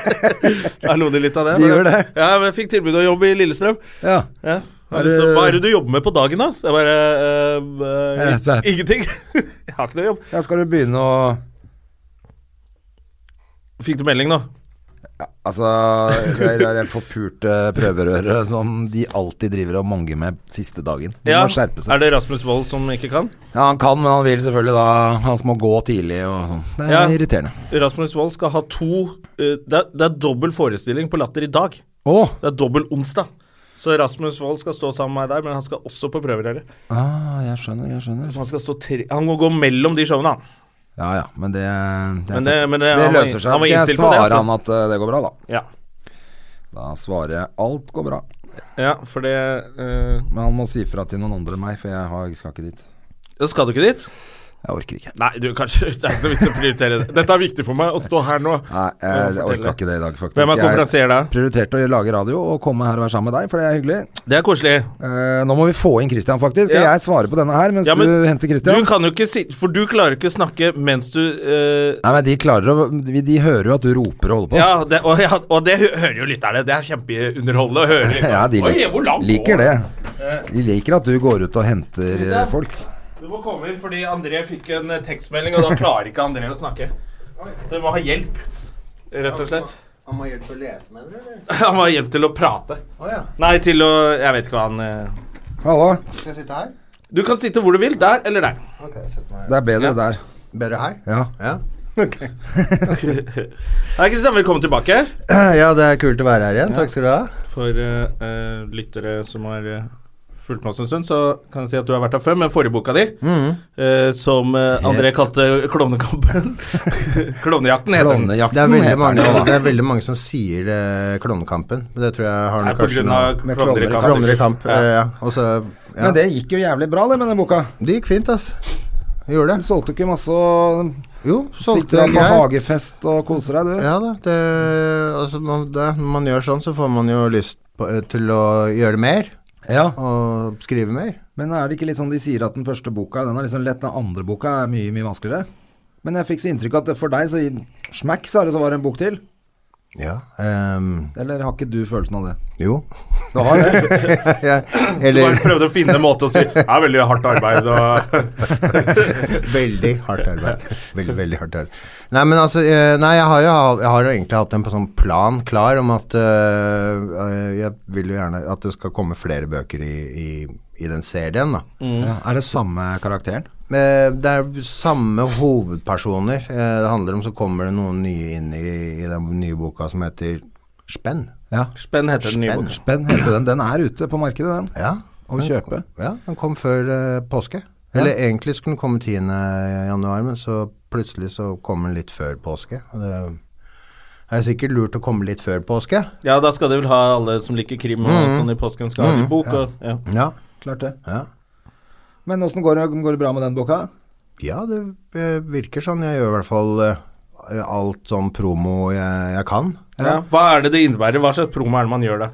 Speaker 1: <laughs>
Speaker 2: da lo de litt av det.
Speaker 1: De gjør det.
Speaker 2: Ja, men jeg fikk tilbud om jobb i Lillestrøm.
Speaker 1: Ja.
Speaker 2: Ja.
Speaker 1: Er det-
Speaker 2: Så, hva er det du jobber med på dagen, da? Så jeg bare eh, eh,
Speaker 1: Eh, det-
Speaker 2: <laughs> Ingenting. jeg har ikke noe jobb.
Speaker 1: ja, skal du begynne å
Speaker 2: Fikk du melding nå?
Speaker 1: Altså, det er- det er det forpurte prøverøret som de alltid driver og mange med siste dagen. De må skjerpe seg.
Speaker 2: Er det Rasmus Wold som ikke kan?
Speaker 1: Ja, Han kan, men han vil selvfølgelig da Han må gå tidlig og sånn. Det er
Speaker 2: Ja.
Speaker 1: irriterende.
Speaker 2: Rasmus Wold skal ha to eh, det, er, det er dobbel forestilling på Latter i dag.
Speaker 1: Å!
Speaker 2: Det er dobbel onsdag. Så Rasmus Wold skal stå sammen med meg der, men han skal også på prøverøret.
Speaker 1: Ah, jeg skjønner, jeg skjønner.
Speaker 2: Så han skal stå tre Han må gå mellom de showene, han.
Speaker 1: Ja ja, men det Det, er
Speaker 2: Men det-
Speaker 1: fint.
Speaker 2: men det-
Speaker 1: det,
Speaker 2: han var-
Speaker 1: løser seg.
Speaker 2: han var
Speaker 1: Skal jeg
Speaker 2: innstilt på det,
Speaker 1: svare
Speaker 2: altså.
Speaker 1: han at eh, det går bra, da?
Speaker 2: Ja.
Speaker 1: Da svarer jeg alt går bra.
Speaker 2: Ja, for det eh,
Speaker 1: Men han må si fra til noen andre enn meg, for jeg, har, jeg skal ikke dit.
Speaker 2: Skal du ikke dit?
Speaker 1: Jeg orker ikke.
Speaker 2: Nei, du, kanskje <laughs> Det er ikke noe vits i å prioritere det. Dette er viktig for meg, å stå her nå.
Speaker 1: Nei, jeg, jeg
Speaker 2: fortell
Speaker 1: orka
Speaker 2: det.
Speaker 1: ikke det i dag, faktisk.
Speaker 2: Hvem er
Speaker 1: jeg
Speaker 2: konferansier da?
Speaker 1: prioriterte å lage radio og komme her og være sammen med deg, for det er hyggelig.
Speaker 2: Det er koselig.
Speaker 1: Eh, nå må vi få inn Christian, faktisk. Skal
Speaker 2: Ja.
Speaker 1: jeg svare på denne her mens
Speaker 2: Ja, men
Speaker 1: du henter
Speaker 2: Du
Speaker 1: Christian?
Speaker 2: kan jo ikke si For du klarer ikke å snakke mens du eh,
Speaker 1: Nei, men de klarer å De, de hører jo at du roper og holder på.
Speaker 2: Ja, det, og, ja, og det hø- hører jo lytterne. Det er kjempeunderholdende å høre. liksom.
Speaker 1: Ja, de
Speaker 2: Oi,
Speaker 1: lik,
Speaker 2: hvor langt går
Speaker 1: liker
Speaker 2: den?
Speaker 1: det. De liker at du går ut og henter eh, folk.
Speaker 2: Du må komme inn fordi André fikk en eh, tekstmelding, og da klarer ikke André å snakke. Så du må ha hjelp, rett og slett.
Speaker 3: Han må hjelpe å lese, mener du? eller?
Speaker 2: <laughs> Han må ha hjelp til å prate.
Speaker 3: Å ja.
Speaker 2: Nei, til å Jeg vet ikke hva han eh,
Speaker 1: Hallo.
Speaker 3: Skal jeg sitte her?
Speaker 2: Du kan sitte hvor du vil. Der eller der. <laughs>
Speaker 3: Ok, jeg setter meg her.
Speaker 1: Det er bedre
Speaker 2: Ja.
Speaker 1: der.
Speaker 3: Bedre her?
Speaker 1: Ja.
Speaker 3: Ja.
Speaker 2: Hei, Kristian. Velkommen tilbake.
Speaker 3: <clears throat> ja, det er kult å være her igjen. Takk skal du ha.
Speaker 2: For eh, eh, lyttere som har eh, fulgt med oss en stund, så kan jeg si at du har vært her før med forrige boka di,
Speaker 3: Mm.
Speaker 2: eh, som eh, André kalte Klovnekampen. <laughs> Klovnejakten heter den.
Speaker 1: Klovnejakten
Speaker 3: Det er veldig
Speaker 1: heter
Speaker 3: mange,
Speaker 1: den, ja.
Speaker 3: det er veldig mange som sier eh, Klovnekampen. men Det tror jeg har
Speaker 2: Nei,
Speaker 3: noe
Speaker 2: på
Speaker 3: kanskje
Speaker 2: grunn
Speaker 3: med
Speaker 2: av
Speaker 1: med
Speaker 2: klovner
Speaker 1: klovner
Speaker 2: i
Speaker 1: i
Speaker 2: kamp.
Speaker 3: Klovner i kamp.
Speaker 2: Ja.
Speaker 3: eh, Ja. Og så ja.
Speaker 1: Men det gikk jo jævlig bra, det, med den boka.
Speaker 3: Det gikk fint, ass. Det
Speaker 1: Du
Speaker 3: Gjorde det.
Speaker 1: solgte ikke masse og
Speaker 3: Jo,
Speaker 1: fikk deg
Speaker 3: solgte
Speaker 1: på
Speaker 3: greier.
Speaker 1: hagefest og koser deg, du.
Speaker 3: Ja da. Det, altså, man, det, når man gjør sånn, så får man jo lyst på, eh, til å gjøre mer.
Speaker 1: Ja.
Speaker 3: Og skrive mer.
Speaker 1: Men er det ikke litt sånn de sier at den første boka den er liksom lett, den andre boka er mye, mye vanskeligere? Men jeg fikk så inntrykk at for deg, så i smack, så er det så var det en bok til.
Speaker 3: Ja. ehm,
Speaker 1: Eller har ikke du følelsen av det?
Speaker 3: jo.
Speaker 1: Du har det?
Speaker 3: Jeg-
Speaker 2: Du
Speaker 3: Eller
Speaker 2: bare prøvde å finne en måte å si Det er veldig hardt arbeid og
Speaker 3: <laughs> Veldig hardt arbeid. Veldig, veldig hardt arbeid. Nei, men altså eh, Nei, jeg har jo, jeg har jo egentlig hatt en sånn plan klar om at eh, Jeg vil jo gjerne at det skal komme flere bøker i, i, i den serien, da.
Speaker 1: <laughs> Ja, er det samme karakteren?
Speaker 3: Eh, Det er samme hovedpersoner eh, det handler om, så kommer det noen nye inn i, i den nye boka som heter Spenn.
Speaker 1: Ja.
Speaker 2: Spenn heter den nye
Speaker 3: Spenn.
Speaker 2: boka.
Speaker 1: Spenn heter den. Den er ute på markedet, den.
Speaker 3: Ja.
Speaker 1: Å kjøpe.
Speaker 3: ja. Den kom før eh, påske. Eller egentlig skulle den komme 10. januar, men så plutselig så kom den litt før påske. Og Det er sikkert lurt å komme litt før påske.
Speaker 2: Ja, da skal de vel ha alle som liker krim og sånn i påsken, skal ha en bok og ja.
Speaker 3: Ja.
Speaker 1: Klart det.
Speaker 3: Ja,
Speaker 1: Men åssen går, det- går det bra med den boka?
Speaker 3: ja det eh, virker sånn. Jeg gjør i hvert fall eh, alt sånn promo jeg, jeg kan.
Speaker 2: ja. Hva er det det innebærer? Hva slags promo er det man gjør da?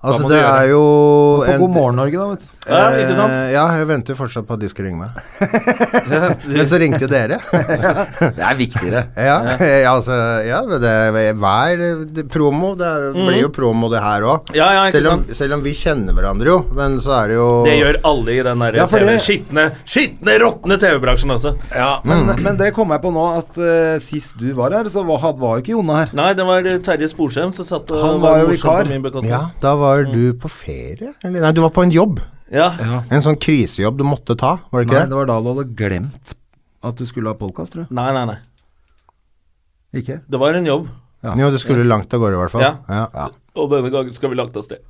Speaker 3: Altså,
Speaker 2: må du
Speaker 3: det
Speaker 2: gjøre?
Speaker 3: er jo
Speaker 1: På
Speaker 3: en-
Speaker 1: God morgen Norge, da, vet du.
Speaker 2: Ja, ikke sant?
Speaker 3: Eh, ja, jeg venter fortsatt på at de skal ringe
Speaker 2: <laughs>
Speaker 3: meg. Men så ringte jo dere.
Speaker 1: <laughs> Det er viktigere.
Speaker 3: Ja, ja, altså, ja det, er- hver eh, det, promo Det er,
Speaker 2: Mhm.
Speaker 3: blir jo promo, det her òg.
Speaker 2: Ja, ja, ikke
Speaker 3: selv, om- selv om vi kjenner hverandre, jo. Men så er det jo
Speaker 2: Det gjør alle i den der
Speaker 1: Ja, for
Speaker 2: TV
Speaker 1: det-
Speaker 2: skitne, skitne, råtne TV-bransjen også. Ja.
Speaker 1: Men, men det kom jeg på nå, at eh, sist du var her, så var, had- var jo ikke Jonna her.
Speaker 2: Nei, det var eh, Terje Sporsem som satt og
Speaker 1: Han var jo
Speaker 2: morsom
Speaker 1: vikar.
Speaker 2: på min bekostning.
Speaker 3: Ja, da var
Speaker 1: Mm.
Speaker 3: du på ferie? Eller nei, du var på en jobb.
Speaker 2: Ja.
Speaker 3: En sånn krisejobb du måtte ta, var det
Speaker 1: Nei,
Speaker 3: ikke
Speaker 1: det
Speaker 3: det?
Speaker 1: var da du hadde glemt at du skulle ha podkast, tror jeg.
Speaker 2: Nei, nei, nei.
Speaker 1: Ikke?
Speaker 2: Det var en jobb.
Speaker 1: var-
Speaker 3: Jo, du skulle langt av gårde, i hvert fall.
Speaker 2: Ja.
Speaker 3: Ja.
Speaker 2: Og denne gangen skal vi langt av sted.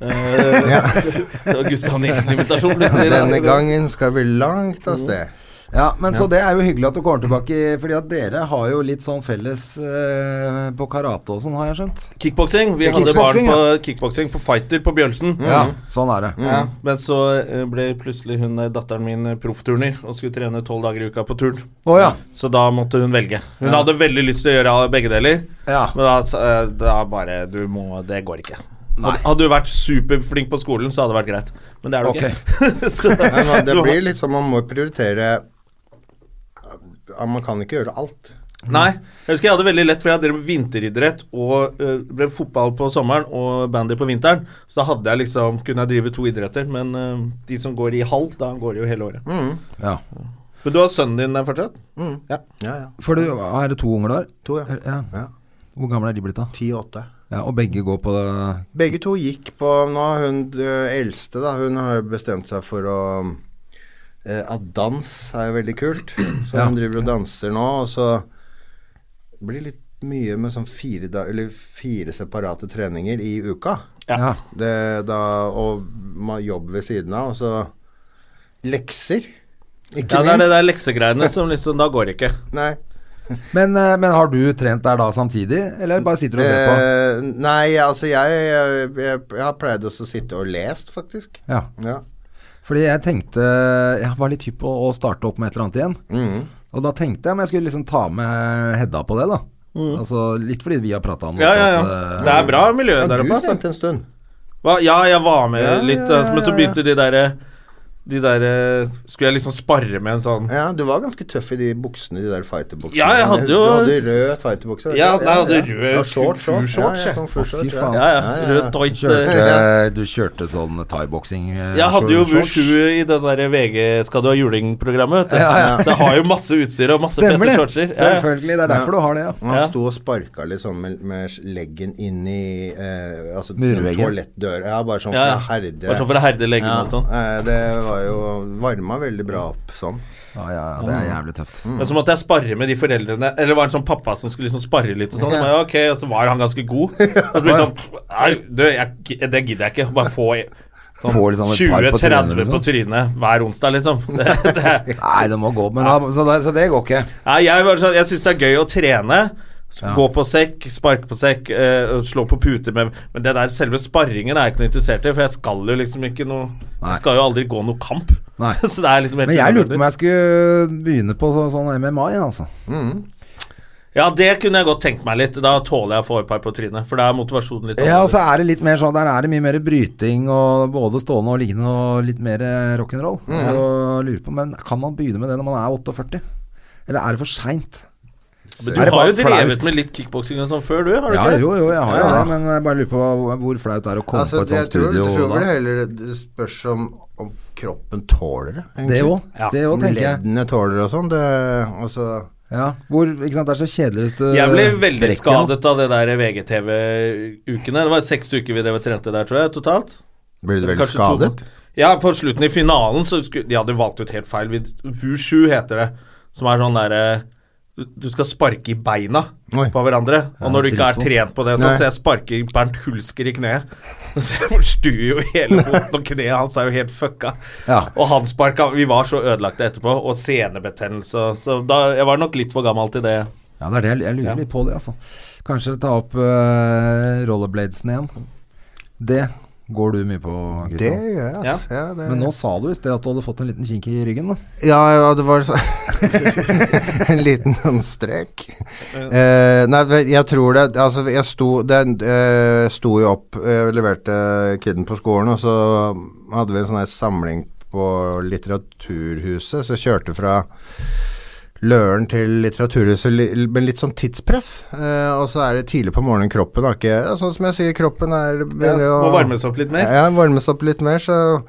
Speaker 2: Eh,
Speaker 1: <laughs>
Speaker 2: <laughs> det var Gustav Nilsen-invitasjon plutselig.
Speaker 3: Denne gangen skal vi langt
Speaker 1: Mm.
Speaker 3: av sted.
Speaker 1: Ja, men så det er jo hyggelig at du kommer tilbake, fordi at dere har jo litt sånn felles eh, på karate og sånn, har jeg skjønt.
Speaker 2: Kickboksing. Vi
Speaker 1: Ja,
Speaker 2: hadde barn
Speaker 1: kickboksing,
Speaker 2: på kickboksing, på Fighter på Bjølsen.
Speaker 1: Ja, sånn er det.
Speaker 2: Ja, men så eh, ble plutselig hun eh, datteren min eh, proffturner og skulle trene tolv dager i uka på turn.
Speaker 1: Å ja.
Speaker 2: Så da måtte hun velge. Hun
Speaker 1: Ja.
Speaker 2: hadde veldig lyst til å gjøre begge deler,
Speaker 1: Ja.
Speaker 2: men da, eh, da bare Du må Det går ikke. Hadde, hadde du vært superflink på skolen, så hadde det vært greit. Men det er du ikke. <laughs> så,
Speaker 3: Nei, men det
Speaker 2: du har-
Speaker 3: blir litt sånn man må prioritere Ja, Man kan ikke gjøre alt.
Speaker 2: Nei. Jeg husker jeg hadde veldig lett, for jeg drev vinteridrett og eh, drev fotball på sommeren og bandy på vinteren. Så da hadde jeg liksom, kunne jeg drive to idretter, men eh, de som går i halv, da går de jo hele
Speaker 3: Mm.
Speaker 2: året.
Speaker 1: ja.
Speaker 2: Men du har sønnen din der fortsatt?
Speaker 3: Ja, ja.
Speaker 1: For du, er det to unger der?
Speaker 3: To, ja.
Speaker 1: Ja.
Speaker 3: ja.
Speaker 1: Hvor gamle er de blitt, da?
Speaker 3: Ti og åtte.
Speaker 1: Ja, Og begge går på
Speaker 3: Begge to gikk på Nå har hun ø, eldste, da. Hun har jo bestemt seg for å eh, At dans er jo veldig kult. Så
Speaker 1: Ja.
Speaker 3: hun driver og danser nå, og så blir det litt mye med sånn fire, da, eller fire separate treninger i uka.
Speaker 2: Ja.
Speaker 1: Ja.
Speaker 3: Det, da, og ma- jobb ved siden av, og så lekser. Ikke
Speaker 2: Ja, det er det
Speaker 3: minst.
Speaker 2: der leksegreiene som liksom Da går det ikke.
Speaker 3: Nei.
Speaker 1: Men, eh, men har du trent der da samtidig, eller bare sitter du og ser på?
Speaker 3: Eh, nei, altså jeg, jeg, jeg, jeg har pleid også å sitte og lest, faktisk.
Speaker 1: Ja.
Speaker 3: Ja.
Speaker 1: Fordi jeg tenkte Jeg var litt hypp på å starte opp med et eller annet igjen.
Speaker 3: Mhm.
Speaker 1: Og da tenkte jeg om jeg skulle liksom ta med Hedda på det, da. Altså litt fordi vi har prata om
Speaker 2: Ja, ja, ja.
Speaker 1: at, eh,
Speaker 2: Det er bra miljø
Speaker 3: Men
Speaker 2: der
Speaker 3: du
Speaker 2: oppe, altså.
Speaker 3: trente en stund.
Speaker 2: Hva? Ja, jeg var med
Speaker 3: Ja,
Speaker 2: litt,
Speaker 3: ja,
Speaker 2: altså, men så
Speaker 3: ja,
Speaker 2: begynte de derre De derre Skulle jeg liksom sparre med en sånn
Speaker 3: Ja, du var ganske tøff i de buksene, de der fighterbuksene.
Speaker 2: Ja, jeg hadde jo-
Speaker 3: Du hadde røde fighterbuksene.
Speaker 2: Ja, jeg hadde rød
Speaker 3: ja, short, short.
Speaker 2: kung-fu-shorts,
Speaker 3: Ja,
Speaker 2: jeg.
Speaker 3: ja, kung-fu-shorts,
Speaker 1: Å, fy faen.
Speaker 2: Ja, ja.
Speaker 3: Ja, ja, ja.
Speaker 2: Rød tight. eh.
Speaker 1: Kjørte, du kjørte sånn thaiboksing eh,
Speaker 2: Jeg hadde jo
Speaker 1: shorts.
Speaker 2: Vushu i den der VG Skal du ha juling-programmet, vet du.
Speaker 1: Ja,
Speaker 2: Så jeg har jo masse utstyr og masse
Speaker 1: Stemmer
Speaker 2: fette
Speaker 1: det.
Speaker 2: shortser. Ja, ja.
Speaker 1: Selvfølgelig. Det er derfor du har det, ja.
Speaker 3: Og Han
Speaker 2: Ja.
Speaker 3: sto og sparka litt sånn med, med leggen inn i eh, altså,
Speaker 1: Murveggen.
Speaker 3: toalettdøra. Ja, bare sånn
Speaker 2: Ja, ja.
Speaker 3: for å herde.
Speaker 2: Bare sånn for å herde leggene
Speaker 3: ja,
Speaker 2: og sånn.
Speaker 3: eh, det var jo Varma veldig bra opp sånn.
Speaker 1: Ja, ja, ja. Det er jævlig tøft.
Speaker 3: Mm.
Speaker 2: Men så måtte jeg sparre med de foreldrene Eller det var en sånn pappa som skulle liksom sparre litt og sånn. Og bare, ok, og så var han ganske god. Og så ble det sånn pff, Nei, du, jeg, det gidder jeg ikke. Bare få i- sånn
Speaker 1: Få liksom et par på trynet,
Speaker 2: 20-30
Speaker 1: liksom.
Speaker 2: på trynet hver onsdag, liksom. <laughs> Det, det,
Speaker 1: Nei, det må gå. Men da, så, det, så det går ikke.
Speaker 2: Nei, jeg, var sånn- jeg syns det er gøy å trene. S-
Speaker 1: Ja.
Speaker 2: Gå på sekk, sparke på sekk, eh, og slå på puter med Men det der selve sparringen er jeg ikke noe interessert i, for jeg skal jo liksom ikke noe
Speaker 1: Nei.
Speaker 2: Jeg skal jo aldri gå noe kamp.
Speaker 1: Nei.
Speaker 2: <laughs> Så det er liksom helt
Speaker 1: Men jeg lurte
Speaker 2: unødvendig.
Speaker 1: på om jeg skulle begynne på så, sånn MMA igjen, altså.
Speaker 2: Ja, det kunne jeg godt tenkt meg litt. Da tåler jeg å få et par på trynet, for da er motivasjonen litt
Speaker 1: Ja, og
Speaker 2: annerledes.
Speaker 1: så er det litt mer sånn Der er det mye mer bryting og både stående og liggende og litt mer eh, rock'n'roll.
Speaker 2: Mm.
Speaker 1: Så jeg lurer på Men kan man begynne med det når man er 48? Eller er det for seint? er
Speaker 2: Men du
Speaker 1: det
Speaker 2: har jo
Speaker 1: bare flaut?
Speaker 2: drevet med litt kickboksing og sånn før, du? Har du
Speaker 1: Ja,
Speaker 2: ikke? det?
Speaker 1: jo, jo, jeg har jo
Speaker 3: Ja, ja.
Speaker 1: det, men jeg bare lurer på hvor- hvor flaut det er å komme
Speaker 3: Altså,
Speaker 1: på et sånt
Speaker 3: jeg tror,
Speaker 1: studio
Speaker 3: tror vel
Speaker 1: da.
Speaker 3: heller det spørs om, om kroppen tåler det. egentlig.
Speaker 1: Det òg,
Speaker 2: Ja.
Speaker 1: det òg,
Speaker 3: Om
Speaker 1: tenker jeg.
Speaker 3: leddene tåler det og sånn. Det, altså,
Speaker 1: Ja, hvor, ikke sant, det er så kjedelig hvis du
Speaker 2: Jeg ble veldig
Speaker 1: øh, brekker noe.
Speaker 2: skadet av det der VGTV-ukene. Det var seks uker vi drev og trente der, tror jeg, totalt.
Speaker 3: blir du veldig
Speaker 2: Kanskje to
Speaker 3: skadet?
Speaker 2: mot- Ja, på slutten i finalen så skulle De hadde valgt ut helt feil. Vi- Wushu heter det. Som er sånn derre Du skal sparke i beina
Speaker 3: Oi.
Speaker 2: på hverandre.
Speaker 1: Ja,
Speaker 2: Og når du ikke er
Speaker 1: dritvondt.
Speaker 2: trent på det, og
Speaker 3: Nei.
Speaker 2: sånn, så jeg sparker Bernt Hulsker i kneet. <laughs> Så jeg forstuer jo hele foten, og kneet hans er jo helt fucka.
Speaker 1: Ja.
Speaker 2: Og han sparka Vi var så ødelagte etterpå, og senebetennelse. Så da, jeg var nok litt for gammel til det.
Speaker 1: Ja, det er det jeg, jeg lurer
Speaker 2: Ja.
Speaker 1: litt på det, altså. Kanskje ta opp øh, rollerbladesen igjen. Det går du mye på,
Speaker 3: Det
Speaker 1: Kristian.
Speaker 3: gjør jeg, altså. Ja, det,
Speaker 1: Men nå sa du i sted at du hadde fått en liten kink i ryggen. Da.
Speaker 3: Ja, ja, det var så <laughs> En liten sånn strek. Eh, nei, vel, jeg tror det Altså, jeg sto det, eh, sto jo opp Jeg leverte kiden på skolen, og så hadde vi en sånn her samling på Litteraturhuset, så jeg kjørte fra Løren til Litteraturhuset, li- men litt sånn tidspress. Eh, og så er det tidlig på morgenen kroppen har ikke ja, Sånn som jeg sier, kroppen er begynner
Speaker 2: Må
Speaker 3: å-
Speaker 2: varmes opp litt mer.
Speaker 3: ja, varmes opp litt mer, så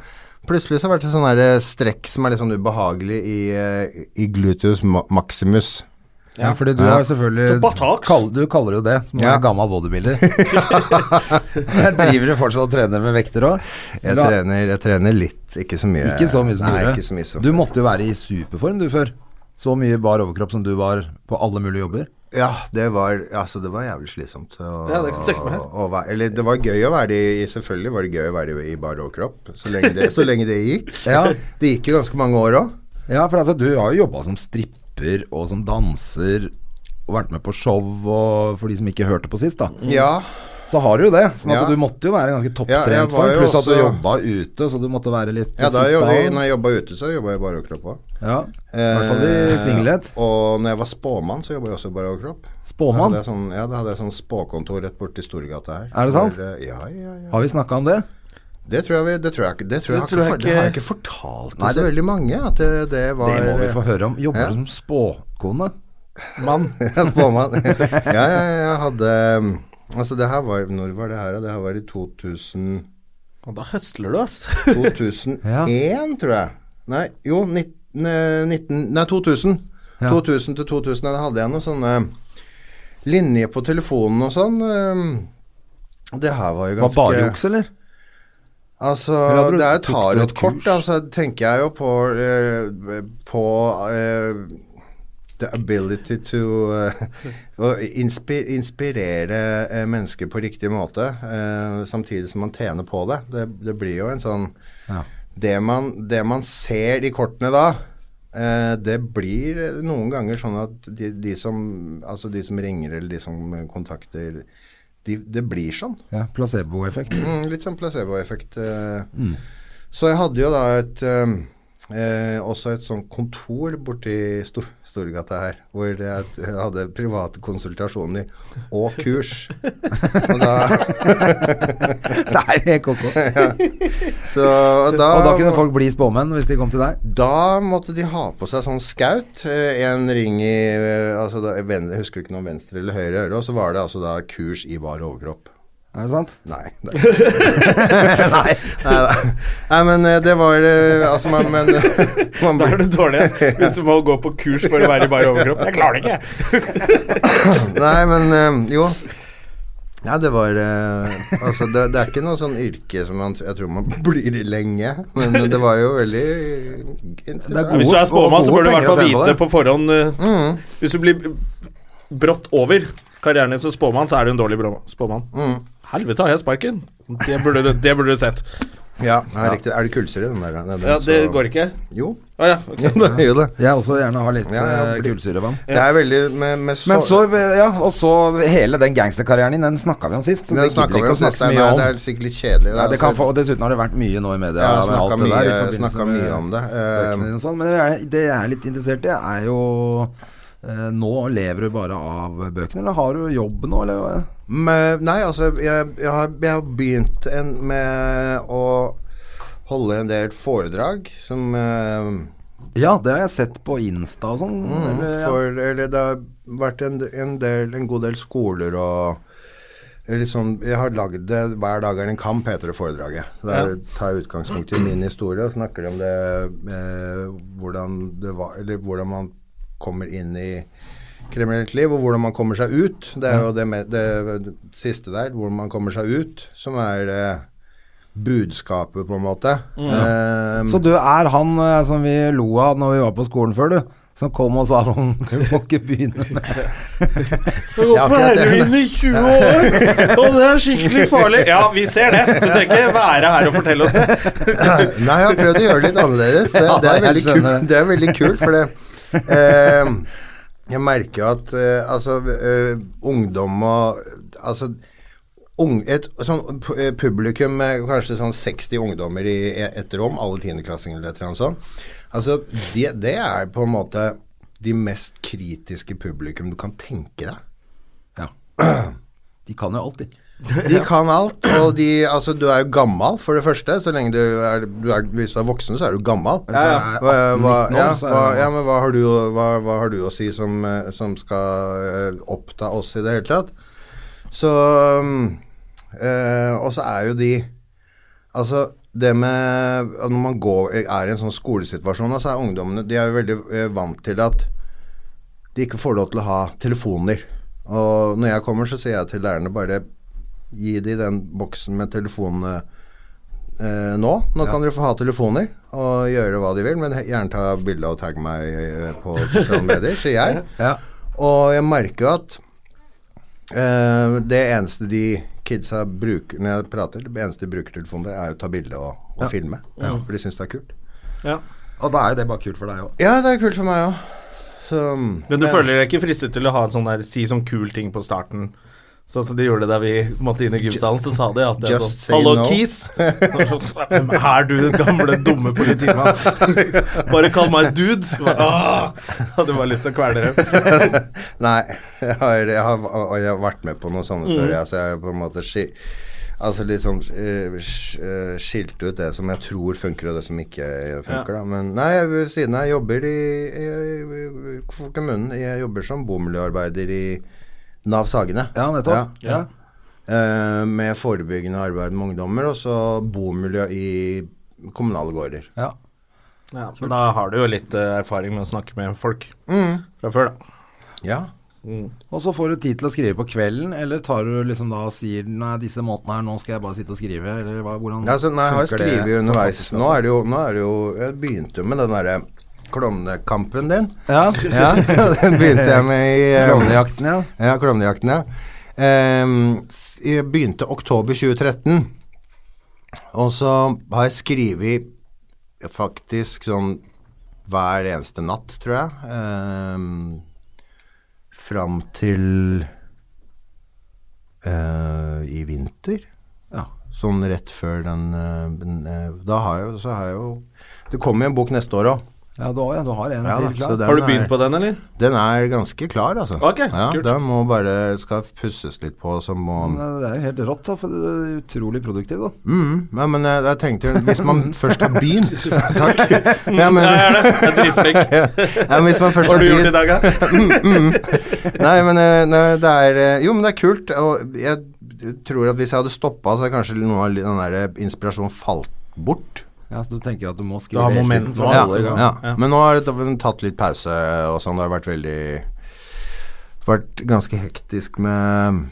Speaker 3: plutselig så har det vært en sånn her strekk som er litt sånn ubehagelig i, eh, i gluteus ma- maximus.
Speaker 1: Ja, fordi du
Speaker 3: Ja.
Speaker 1: har selvfølgelig
Speaker 2: Tobatox.
Speaker 1: kall, Du kaller det jo det, som
Speaker 3: Ja.
Speaker 1: er gammel bodybuilder. <laughs> jeg driver jo fortsatt og trener med vekter òg.
Speaker 3: Jeg trener, jeg trener litt, ikke så mye.
Speaker 1: Ikke så mye som
Speaker 3: Nei,
Speaker 1: du
Speaker 3: ikke så mye som
Speaker 1: Du måtte jo være i superform du før. Så mye bar overkropp som du var på alle mulige jobber.
Speaker 3: Ja, det var, altså, det var jævlig slitsomt. å-
Speaker 2: Ja, det kan jeg tenke meg.
Speaker 3: å være- eller det var gøy å være i Selvfølgelig var det gøy å være i bar overkropp, så lenge det, så lenge det
Speaker 1: <laughs>
Speaker 3: gikk.
Speaker 1: Ja.
Speaker 3: Det gikk jo ganske mange år òg.
Speaker 1: Ja, for altså, du har jo jobba som stripper og som danser og vært med på show og for de som ikke hørte på sist, da.
Speaker 3: Ja.
Speaker 1: Så har du jo det. Sånn at
Speaker 3: Ja.
Speaker 1: du måtte jo være ganske
Speaker 3: Ja,
Speaker 1: topptrent
Speaker 3: jeg var
Speaker 1: form.
Speaker 3: jo
Speaker 1: Pluss at du
Speaker 3: også-
Speaker 1: jobba ute, så du måtte være litt
Speaker 3: ja da,
Speaker 1: fitta.
Speaker 3: jobbet, når jeg jobba ute, så jobba jeg i bar overkropp òg.
Speaker 1: Ja, Eh, i hvert fall i singlet.
Speaker 3: Eh, Og når jeg var spåmann, så jobba jeg også i bar overkropp.
Speaker 1: Spåmann.
Speaker 3: Da hadde jeg sånn, ja, da hadde jeg sånn spåkontor rett borti Storgata her.
Speaker 1: Er det sant?
Speaker 3: Hvor, eh, ja, ja, ja.
Speaker 1: Har vi snakka om det?
Speaker 3: Det tror jeg vi Det tror jeg, ikke- det tror jeg,
Speaker 2: Det tror jeg
Speaker 3: ikke, for- det har jeg
Speaker 2: ikke-
Speaker 3: ikke fortalt til
Speaker 1: Nei,
Speaker 3: så veldig mange. At det, det var eh,
Speaker 1: Det må vi
Speaker 3: <laughs>
Speaker 1: få høre om. Jobber
Speaker 3: ja.
Speaker 1: du som spåkone?
Speaker 3: Mann. Spåmann. <laughs> ja, ja, ja, jeg hadde um, Altså, det her var Når var det her? da? Det her var i 2000,
Speaker 2: Og da høsler du, ass.
Speaker 3: 2001, tror jeg. Nei, jo, 19, eh, 19 Nei, 2000.
Speaker 1: Ja.
Speaker 3: 2000 til 2000. Da hadde jeg noen sånne linjer på telefonen og sånn. um, Det her var jo
Speaker 1: Var
Speaker 3: ganske
Speaker 1: bare juks, eller?
Speaker 3: Altså,
Speaker 1: Eller hadde du
Speaker 3: det er jo
Speaker 1: tatt noe
Speaker 3: tarotkort,
Speaker 1: kurs?
Speaker 3: da, så tenker jeg jo på eh, På eh, the ability to eh, <laughs> Å inspi inspirere eh, mennesker på riktig måte, eh, samtidig som man tjener på det. det. Det blir jo en sånn
Speaker 1: Ja.
Speaker 3: det man, det man ser i kortene da, Eh, det blir noen ganger sånn at de, de, som, altså de som ringer eller de som kontakter de, Det blir sånn.
Speaker 1: Ja, Placeboeffekt.
Speaker 3: <laughs> Mm, litt sånn placeboeffekt. eh.
Speaker 1: Mm.
Speaker 3: Så jeg hadde jo da et eh, eh, også et sånt kontor borti Stor Storgata her, hvor jeg t- hadde private konsultasjoner og
Speaker 1: <laughs>
Speaker 3: kurs. Og da,
Speaker 1: Nei, helt koko.
Speaker 3: så, og da,
Speaker 1: Og da kunne folk bli spåmenn hvis de kom til deg?
Speaker 3: Da måtte de ha på seg sånn skaut. eh, En ring i eh, altså da, ven, Jeg husker ikke noe om venstre eller høyre øre. Og så var det altså da kurs i bar overkropp.
Speaker 1: Er det sant?
Speaker 3: Nei.
Speaker 1: <laughs>
Speaker 3: Det. <laughs> Nei. da. Nei, men eh, det var eh, Altså, man, men <laughs> man,
Speaker 2: Da er det dårligst hvis du må gå på kurs for å være i bare overkropp. Jeg klarer det ikke!
Speaker 3: <laughs> Nei, men eh, jo. Ja, det var eh, Altså, det, det er ikke noe sånn yrke som man, jeg tror man <laughs> blir i lenge, men det var jo veldig interessant.
Speaker 1: Det er
Speaker 2: Hvis du er spåmann, så bør du i hvert fall vite på forhånd eh,
Speaker 3: Mm,
Speaker 2: Hvis du blir brått over karrieren din som spåmann, så er du en dårlig brå- spåmann.
Speaker 3: mm.
Speaker 2: Helvete, har jeg sparken? Det burde du, det burde du sett.
Speaker 3: Ja, ja, riktig. Er det kullsyre, den der? Den,
Speaker 2: Ja, det går ikke.
Speaker 3: Jo. <laughs>
Speaker 2: Å ja. ok.
Speaker 3: Ja, det gjør det.
Speaker 1: Jeg også gjerne har litt
Speaker 3: Ja, ja,
Speaker 1: eh,
Speaker 3: bli-
Speaker 1: kullsyrevann.
Speaker 3: Det er veldig med, med så,
Speaker 1: Men så, ja, og så hele den gangsterkarrieren din, den snakka vi om sist. så
Speaker 3: Den
Speaker 1: Det
Speaker 3: snakket
Speaker 1: gidder vi
Speaker 3: vi
Speaker 1: ikke å
Speaker 3: om sist,
Speaker 1: snakke så
Speaker 3: nei,
Speaker 1: mye om.
Speaker 3: Det er sikkert litt kjedelig.
Speaker 1: Nei, det kan
Speaker 3: altså-
Speaker 1: få, og dessuten har det vært mye nå i media
Speaker 3: Jeg har
Speaker 1: med alt
Speaker 3: snakka
Speaker 1: det
Speaker 3: mye,
Speaker 1: der. i forbindelse
Speaker 3: snakket
Speaker 1: med
Speaker 3: mye om det.
Speaker 1: bøkene
Speaker 3: eh,
Speaker 1: dine og sånn. Men det jeg- det jeg er litt interessert i, er jo eh, Nå lever du bare av bøkene, eller har du jobb nå, eller? hva?
Speaker 3: Men, nei, altså jeg, jeg, har, jeg har begynt en, med å holde en del foredrag som eh,
Speaker 1: Ja, det har jeg sett på Insta og sånn.
Speaker 3: mm,
Speaker 1: eller, ja.
Speaker 3: for, Eller det har vært en, en, del, en god del skoler og Liksom, jeg har laget det 'Hver dag er en kamp', heter det foredraget. Så Der
Speaker 2: Ja.
Speaker 3: tar jeg utgangspunkt i min historie og snakker om det eh, hvordan det var Eller hvordan man kommer inn i kriminelt liv, og hvordan man kommer seg ut. Det er jo det, med, det siste der, hvordan man kommer seg ut, som er eh, budskapet, på en måte. Eh,
Speaker 1: Mm. Så du er han eh, som vi lo av når vi var på skolen før, du? Som kom og sa sånn <laughs> Du må ikke begynne med
Speaker 2: Jeg har gått
Speaker 3: akkurat det.
Speaker 2: på heroin i 20
Speaker 3: <laughs>
Speaker 2: år, og det er skikkelig farlig. Ja, vi ser det. Du trenger ikke være her og fortelle oss det.
Speaker 3: <clears throat> Nei, jeg har prøvd å gjøre det litt annerledes. Det,
Speaker 1: <laughs> Ja,
Speaker 3: det, er,
Speaker 1: jeg
Speaker 3: veldig kult,
Speaker 1: skjønner det.
Speaker 3: det er veldig kult, for det eh, Jeg merker jo at eh, altså eh, ungdom og Altså ung, et sånn pu- eh, publikum med kanskje sånn 60 ungdommer i e- et rom, alle tiendeklassinger eller et eller annet sånt. Altså, det, det er på en måte de mest kritiske publikum du kan tenke deg.
Speaker 1: <laughs> Ja. De kan jo alltid.
Speaker 3: <laughs> De kan alt, og de Altså, du er jo gammal, for det første. Så lenge du er, du er Hvis du er voksen, så er du gammal.
Speaker 1: Ja, ja.
Speaker 3: Hva, hva,
Speaker 1: 18-19 år,
Speaker 3: ja,
Speaker 1: så er
Speaker 3: hva,
Speaker 1: det-
Speaker 3: ja, men hva har du, å- hva, hva har du å si som, eh, som skal eh, oppta oss i det hele tatt? Så mm, eh, Og så er jo de Altså, det med at Når man går, er i en sånn skolesituasjon, så er ungdommene De er jo veldig eh, vant til at de ikke får lov til å ha telefoner. Og når jeg kommer, så sier jeg til lærerne bare Gi de den boksen med telefonene eh, nå. Nå kan dere få ha telefoner og gjøre hva de vil, men he- gjerne ta bilde og tagge meg eh, på sosiale medier, sier jeg.
Speaker 1: <laughs> Ja.
Speaker 3: Og jeg merker jo at eh, det eneste de kidsa bruker når jeg prater, det eneste de bruker telefoner, er å ta bilde og, og
Speaker 1: Ja.
Speaker 3: filme. For de syns det er kult.
Speaker 2: Ja.
Speaker 1: Og da er jo det bare kult for deg òg.
Speaker 3: Ja, det er kult for meg òg. Men
Speaker 2: Men du føler deg ikke fristet til å ha en sånn der, si sånn kul ting på starten? Sånn som de gjorde da vi måtte inn i gymsalen, så sa de at det er
Speaker 3: Just
Speaker 2: sånn
Speaker 3: say
Speaker 2: Hallo,
Speaker 3: no." <laughs>
Speaker 2: Keys! Hvem er du, den gamle, dumme politimannen?
Speaker 3: <laughs>
Speaker 2: Bare kall meg dude! Så bare, «Åh!» Hadde bare lyst til å kvele dem.
Speaker 3: Nei, <laughs> jeg har, jeg, har, og jeg har vært med på noe sånt før. Jeg, så jeg har på en måte ski, altså liksom eh, sk- eh, skilt ut det som jeg tror funker, og det som ikke funker. Da. Men nei, jeg- ved siden av jeg jobber i, i, i for kommunen. Jeg jobber som bomiljøarbeider i Nav Sagene.
Speaker 1: Ja, nettopp.
Speaker 3: Ja.
Speaker 1: Ja.
Speaker 3: Eh, med forebyggende arbeid med ungdommer, og så bomiljø i kommunale gårder.
Speaker 1: Ja.
Speaker 2: Ja, men da har du jo litt eh, erfaring med å snakke med folk fra før, da.
Speaker 3: Ja. Mm.
Speaker 1: Og så får du tid til å skrive på kvelden, eller tar du liksom da og sier nei, disse månedene her, nå skal jeg bare sitte og skrive, eller hva, hvordan
Speaker 3: Ja, altså, nei, jeg har
Speaker 1: funker det?
Speaker 3: skrevet underveis. Nå er det jo, nå er det jo Jeg begynte jo med den derre klovnekampen din.
Speaker 1: Ja,
Speaker 3: <laughs> Ja, den begynte jeg med i eh,
Speaker 1: Klovnejakten, ja.
Speaker 3: Ja, klovnejakten, ja. Ehm, s- jeg begynte oktober 2013, og så har jeg skrevet faktisk sånn hver eneste natt, tror jeg. Ehm, fram til eh, i vinter.
Speaker 1: Ja.
Speaker 3: Sånn rett før den, eh, den eh, Da har jeg jo Så har jeg jo Det kommer jo en bok neste år òg.
Speaker 1: Ja, du, har- ja, du har en
Speaker 3: Ja, da,
Speaker 1: til klar.
Speaker 3: så det-
Speaker 2: Har du
Speaker 3: Den
Speaker 2: begynt
Speaker 3: er-
Speaker 2: på den, eller?
Speaker 3: Den er ganske klar, altså.
Speaker 2: Ok,
Speaker 3: ja,
Speaker 2: kult.
Speaker 3: Den må bare Skal pusses litt på, så må
Speaker 1: Men, eh, det er jo helt rått, da. For det er utrolig produktiv, da.
Speaker 3: Mm, nei, men jeg, jeg tenkte Hvis man først har
Speaker 2: <laughs>
Speaker 3: begynt Takk. Ja, men,
Speaker 2: Ja, jeg er det. Jeg er dritflink.
Speaker 3: <laughs> ja, men hvis man først
Speaker 2: Hva har
Speaker 3: har
Speaker 2: du gjort i
Speaker 3: begynt Mm,
Speaker 2: dag, da?
Speaker 3: Nei, men eh, nei, det er eh, Jo, men det er kult. Og jeg tror at hvis jeg hadde stoppa, så hadde kanskje noe av den der inspirasjonen falt bort.
Speaker 1: Ja, så du tenker at du må
Speaker 2: Du
Speaker 1: skrive
Speaker 2: har
Speaker 1: hele
Speaker 2: momenten
Speaker 1: tiden for liksom. å
Speaker 2: nå,
Speaker 1: holde i
Speaker 2: ja.
Speaker 1: gang.
Speaker 3: Ja. Men nå har det tatt- tatt litt pause og sånn. Det har vært veldig Vært ganske hektisk med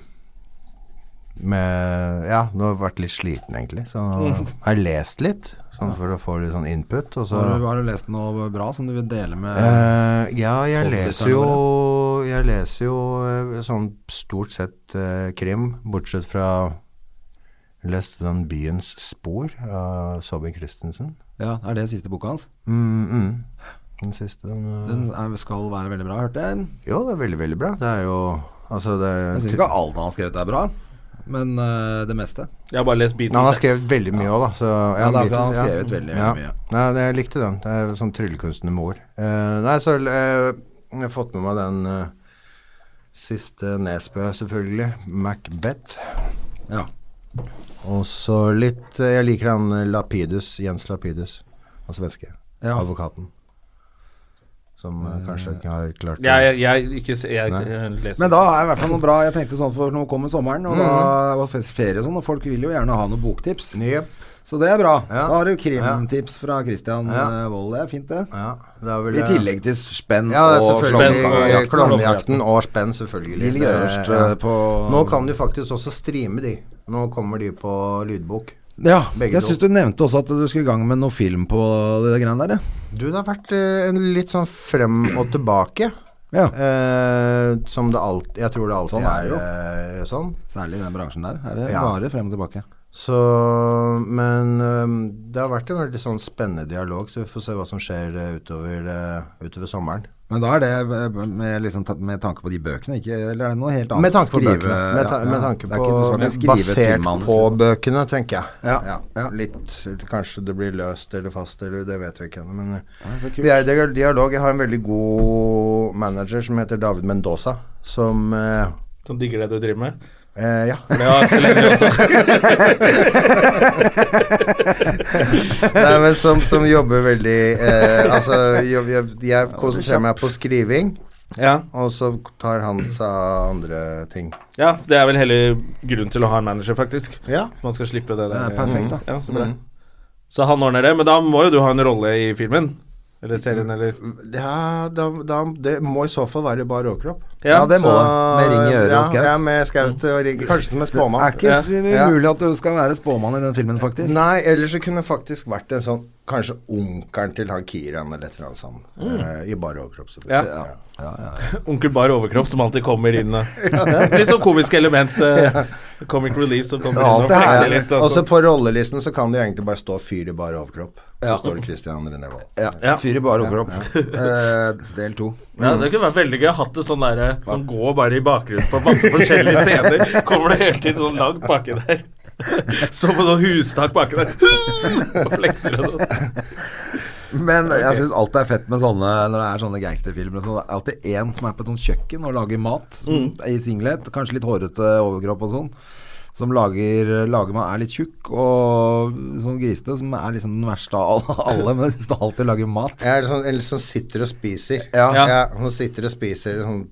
Speaker 3: med Ja, nå har jeg vært litt sliten, egentlig. Så
Speaker 1: <laughs>
Speaker 3: har jeg lest litt, sånn for å få litt sånn input. Og så
Speaker 1: Har, du, har du lest noe bra som du vil dele med
Speaker 3: Eh, ja, jeg
Speaker 1: Folkets
Speaker 3: leser jo Jeg leser jo eh, sånn stort sett eh, krim, bortsett fra Jeg leste den 'Byens spor' av Saabye Christensen.
Speaker 1: Ja, Er det siste boka hans?
Speaker 3: Mm, mm. Den siste, den, eh,
Speaker 1: Den er, skal være veldig bra, hørte jeg.
Speaker 3: Jo, det er veldig, veldig bra. Det er jo Altså, det
Speaker 1: Jeg syns ikke alt han har skrevet er bra, men eh, det meste.
Speaker 2: Jeg har bare lest Beatles.
Speaker 3: Nei, han har
Speaker 2: jeg.
Speaker 3: skrevet veldig mye òg, da. Så,
Speaker 1: Ja, det er
Speaker 3: litt-
Speaker 1: akkurat han har skrevet veldig, veldig mye.
Speaker 3: Nei, det, jeg likte den. Det er sånn tryllekunstner med ord. Eh, nei, så eh, jeg har fått med meg den eh, siste Nesbø, selvfølgelig. Macbeth.
Speaker 1: Ja.
Speaker 3: Og så litt eh, Jeg liker han eh, Lapidus, Jens Lapidus, han svenske.
Speaker 1: Ja.
Speaker 3: Advokaten. Som eh, kanskje ikke har klart
Speaker 2: Jeg, jeg, jeg, ikke, se- jeg,
Speaker 3: Nei.
Speaker 2: jeg leser
Speaker 1: Men da er det i hvert fall noe bra. Jeg tenkte sånn for nå kommer sommeren, og
Speaker 3: Mm.
Speaker 1: da var fes- ferie og sånn, og folk vil jo gjerne ha noen boktips.
Speaker 3: Jep.
Speaker 1: Så det er bra.
Speaker 3: Ja.
Speaker 1: Da har du krimtips fra Christian
Speaker 3: Ja.
Speaker 1: eh, Wold. Det er fint, det.
Speaker 3: Ja, da vil
Speaker 1: I
Speaker 3: jeg-
Speaker 1: tillegg til spenn
Speaker 3: Ja, det er
Speaker 1: og
Speaker 3: selvfølgelig.
Speaker 1: slåmjakten.
Speaker 3: Klovnejakten og spenn, selvfølgelig.
Speaker 1: Til
Speaker 3: Det-
Speaker 1: Grøverst,
Speaker 3: ja.
Speaker 1: eh, på-
Speaker 3: Nå kan du faktisk også streame de. Nå kommer de på lydbok.
Speaker 1: Ja,
Speaker 3: Begge
Speaker 1: jeg
Speaker 3: to.
Speaker 1: syns du nevnte også at du skulle i gang med noe film på det greiene der,
Speaker 3: Du, det har vært eh, en litt sånn frem og tilbake.
Speaker 1: ja. ja.
Speaker 3: Eh, som det alltid Jeg tror det alltid
Speaker 1: Sånn er
Speaker 3: er,
Speaker 1: det jo.
Speaker 3: eh, sånn.
Speaker 1: Særlig i den bransjen der. Her er det
Speaker 3: Ja.
Speaker 1: bare frem og tilbake.
Speaker 3: Så Men eh, det har vært en veldig sånn spennende dialog, så vi får se hva som skjer eh, utover, eh, utover sommeren.
Speaker 1: Men da er det eh, med, liksom, ta- med tanke på de bøkene, ikke Eller er det noe helt annet?
Speaker 3: Med tanke på
Speaker 1: Skrive-
Speaker 3: bøkene. Med, ta
Speaker 1: ja, ja.
Speaker 3: med tanke
Speaker 1: Det er ikke- du skal
Speaker 3: på,
Speaker 1: ikke skrive et
Speaker 3: basert
Speaker 1: filmmanus,
Speaker 3: på
Speaker 1: liksom.
Speaker 3: bøkene, tenker jeg.
Speaker 1: Ja, ja.
Speaker 3: Litt, Kanskje det blir løst eller fast, eller det vet vi ikke ennå. Men eh,
Speaker 1: så kult.
Speaker 3: vi er i dial- dialog. Jeg har en veldig god manager som heter David Mendoza, som eh,
Speaker 2: Som digger sånn det du driver med.
Speaker 3: eh, Ja. <laughs>
Speaker 2: For det har Aksel Hennie også.
Speaker 3: Nei, men som, som jobber veldig eh, Altså, jeg, jeg, jeg konsentrerer meg på skriving,
Speaker 2: Ja.
Speaker 3: og så tar han seg av andre ting.
Speaker 2: ja, det er vel hele grunnen til å ha en manager, faktisk.
Speaker 3: Ja.
Speaker 2: Man skal slippe det der. eh,
Speaker 1: Det er perfekt, da.
Speaker 2: Ja, så, bra. så han ordner det, men da må jo du ha en rolle i filmen. Eller serien, eller
Speaker 3: Ja, da, da, det må i så fall være bar overkropp.
Speaker 1: Ja, det må
Speaker 3: Så-
Speaker 1: det. Med ring i øret
Speaker 3: ja,
Speaker 1: og skaut.
Speaker 3: Ja, med skaut og ring. Kanskje som en
Speaker 1: Det er
Speaker 3: spåmann.
Speaker 1: ikke
Speaker 2: Ja.
Speaker 1: s-
Speaker 3: Ja.
Speaker 1: mulig at du skal være spåmann i den filmen, faktisk.
Speaker 3: Nei, ellers så kunne det faktisk vært en sånn Kanskje onkelen til han Kiran eller et eller annet sånt. eh, I bar overkropp, selvfølgelig.
Speaker 2: Ja.
Speaker 3: Ja.
Speaker 2: Onkel Bar Overkropp som alltid kommer inn. eh. Ja, Litt sånn komisk element. eh, Comic relief som kommer inn og
Speaker 3: Alt
Speaker 2: flekser
Speaker 3: det
Speaker 2: litt. altså.
Speaker 3: her.
Speaker 2: og
Speaker 3: Og så
Speaker 2: så-
Speaker 3: på rollelisten så kan det jo egentlig bare stå 'fyr i bar overkropp'. Så står det Christian René Wold.
Speaker 1: Ja.
Speaker 2: Ja.
Speaker 1: Fyr i bare overkropp. <laughs> Eh, del to.
Speaker 2: Ja, det kunne vært veldig gøy. Hatt det sånn derre som går bare i bakgrunnen på masse forskjellige scener. Kommer det hele tiden sånn langt baki der. <laughs> Så på sånn hustak baki der. <laughs> Og flekser og sånn.
Speaker 1: Men jeg syns alt er fett med sånne når det er sånne gangsterfilmer. og sånn, Det er alltid én som er på et sånt kjøkken og lager mat som, i singlet. Kanskje litt hårete overkropp og sånn. Som lager, lager man er litt tjukk og sånn grisete, som er liksom den verste av alle- <laughs> alle. Men jeg syns det alltid lager mat.
Speaker 3: Jeg er sånn, eller som sitter og spiser.
Speaker 1: Ja.
Speaker 3: Han sitter og spiser sånn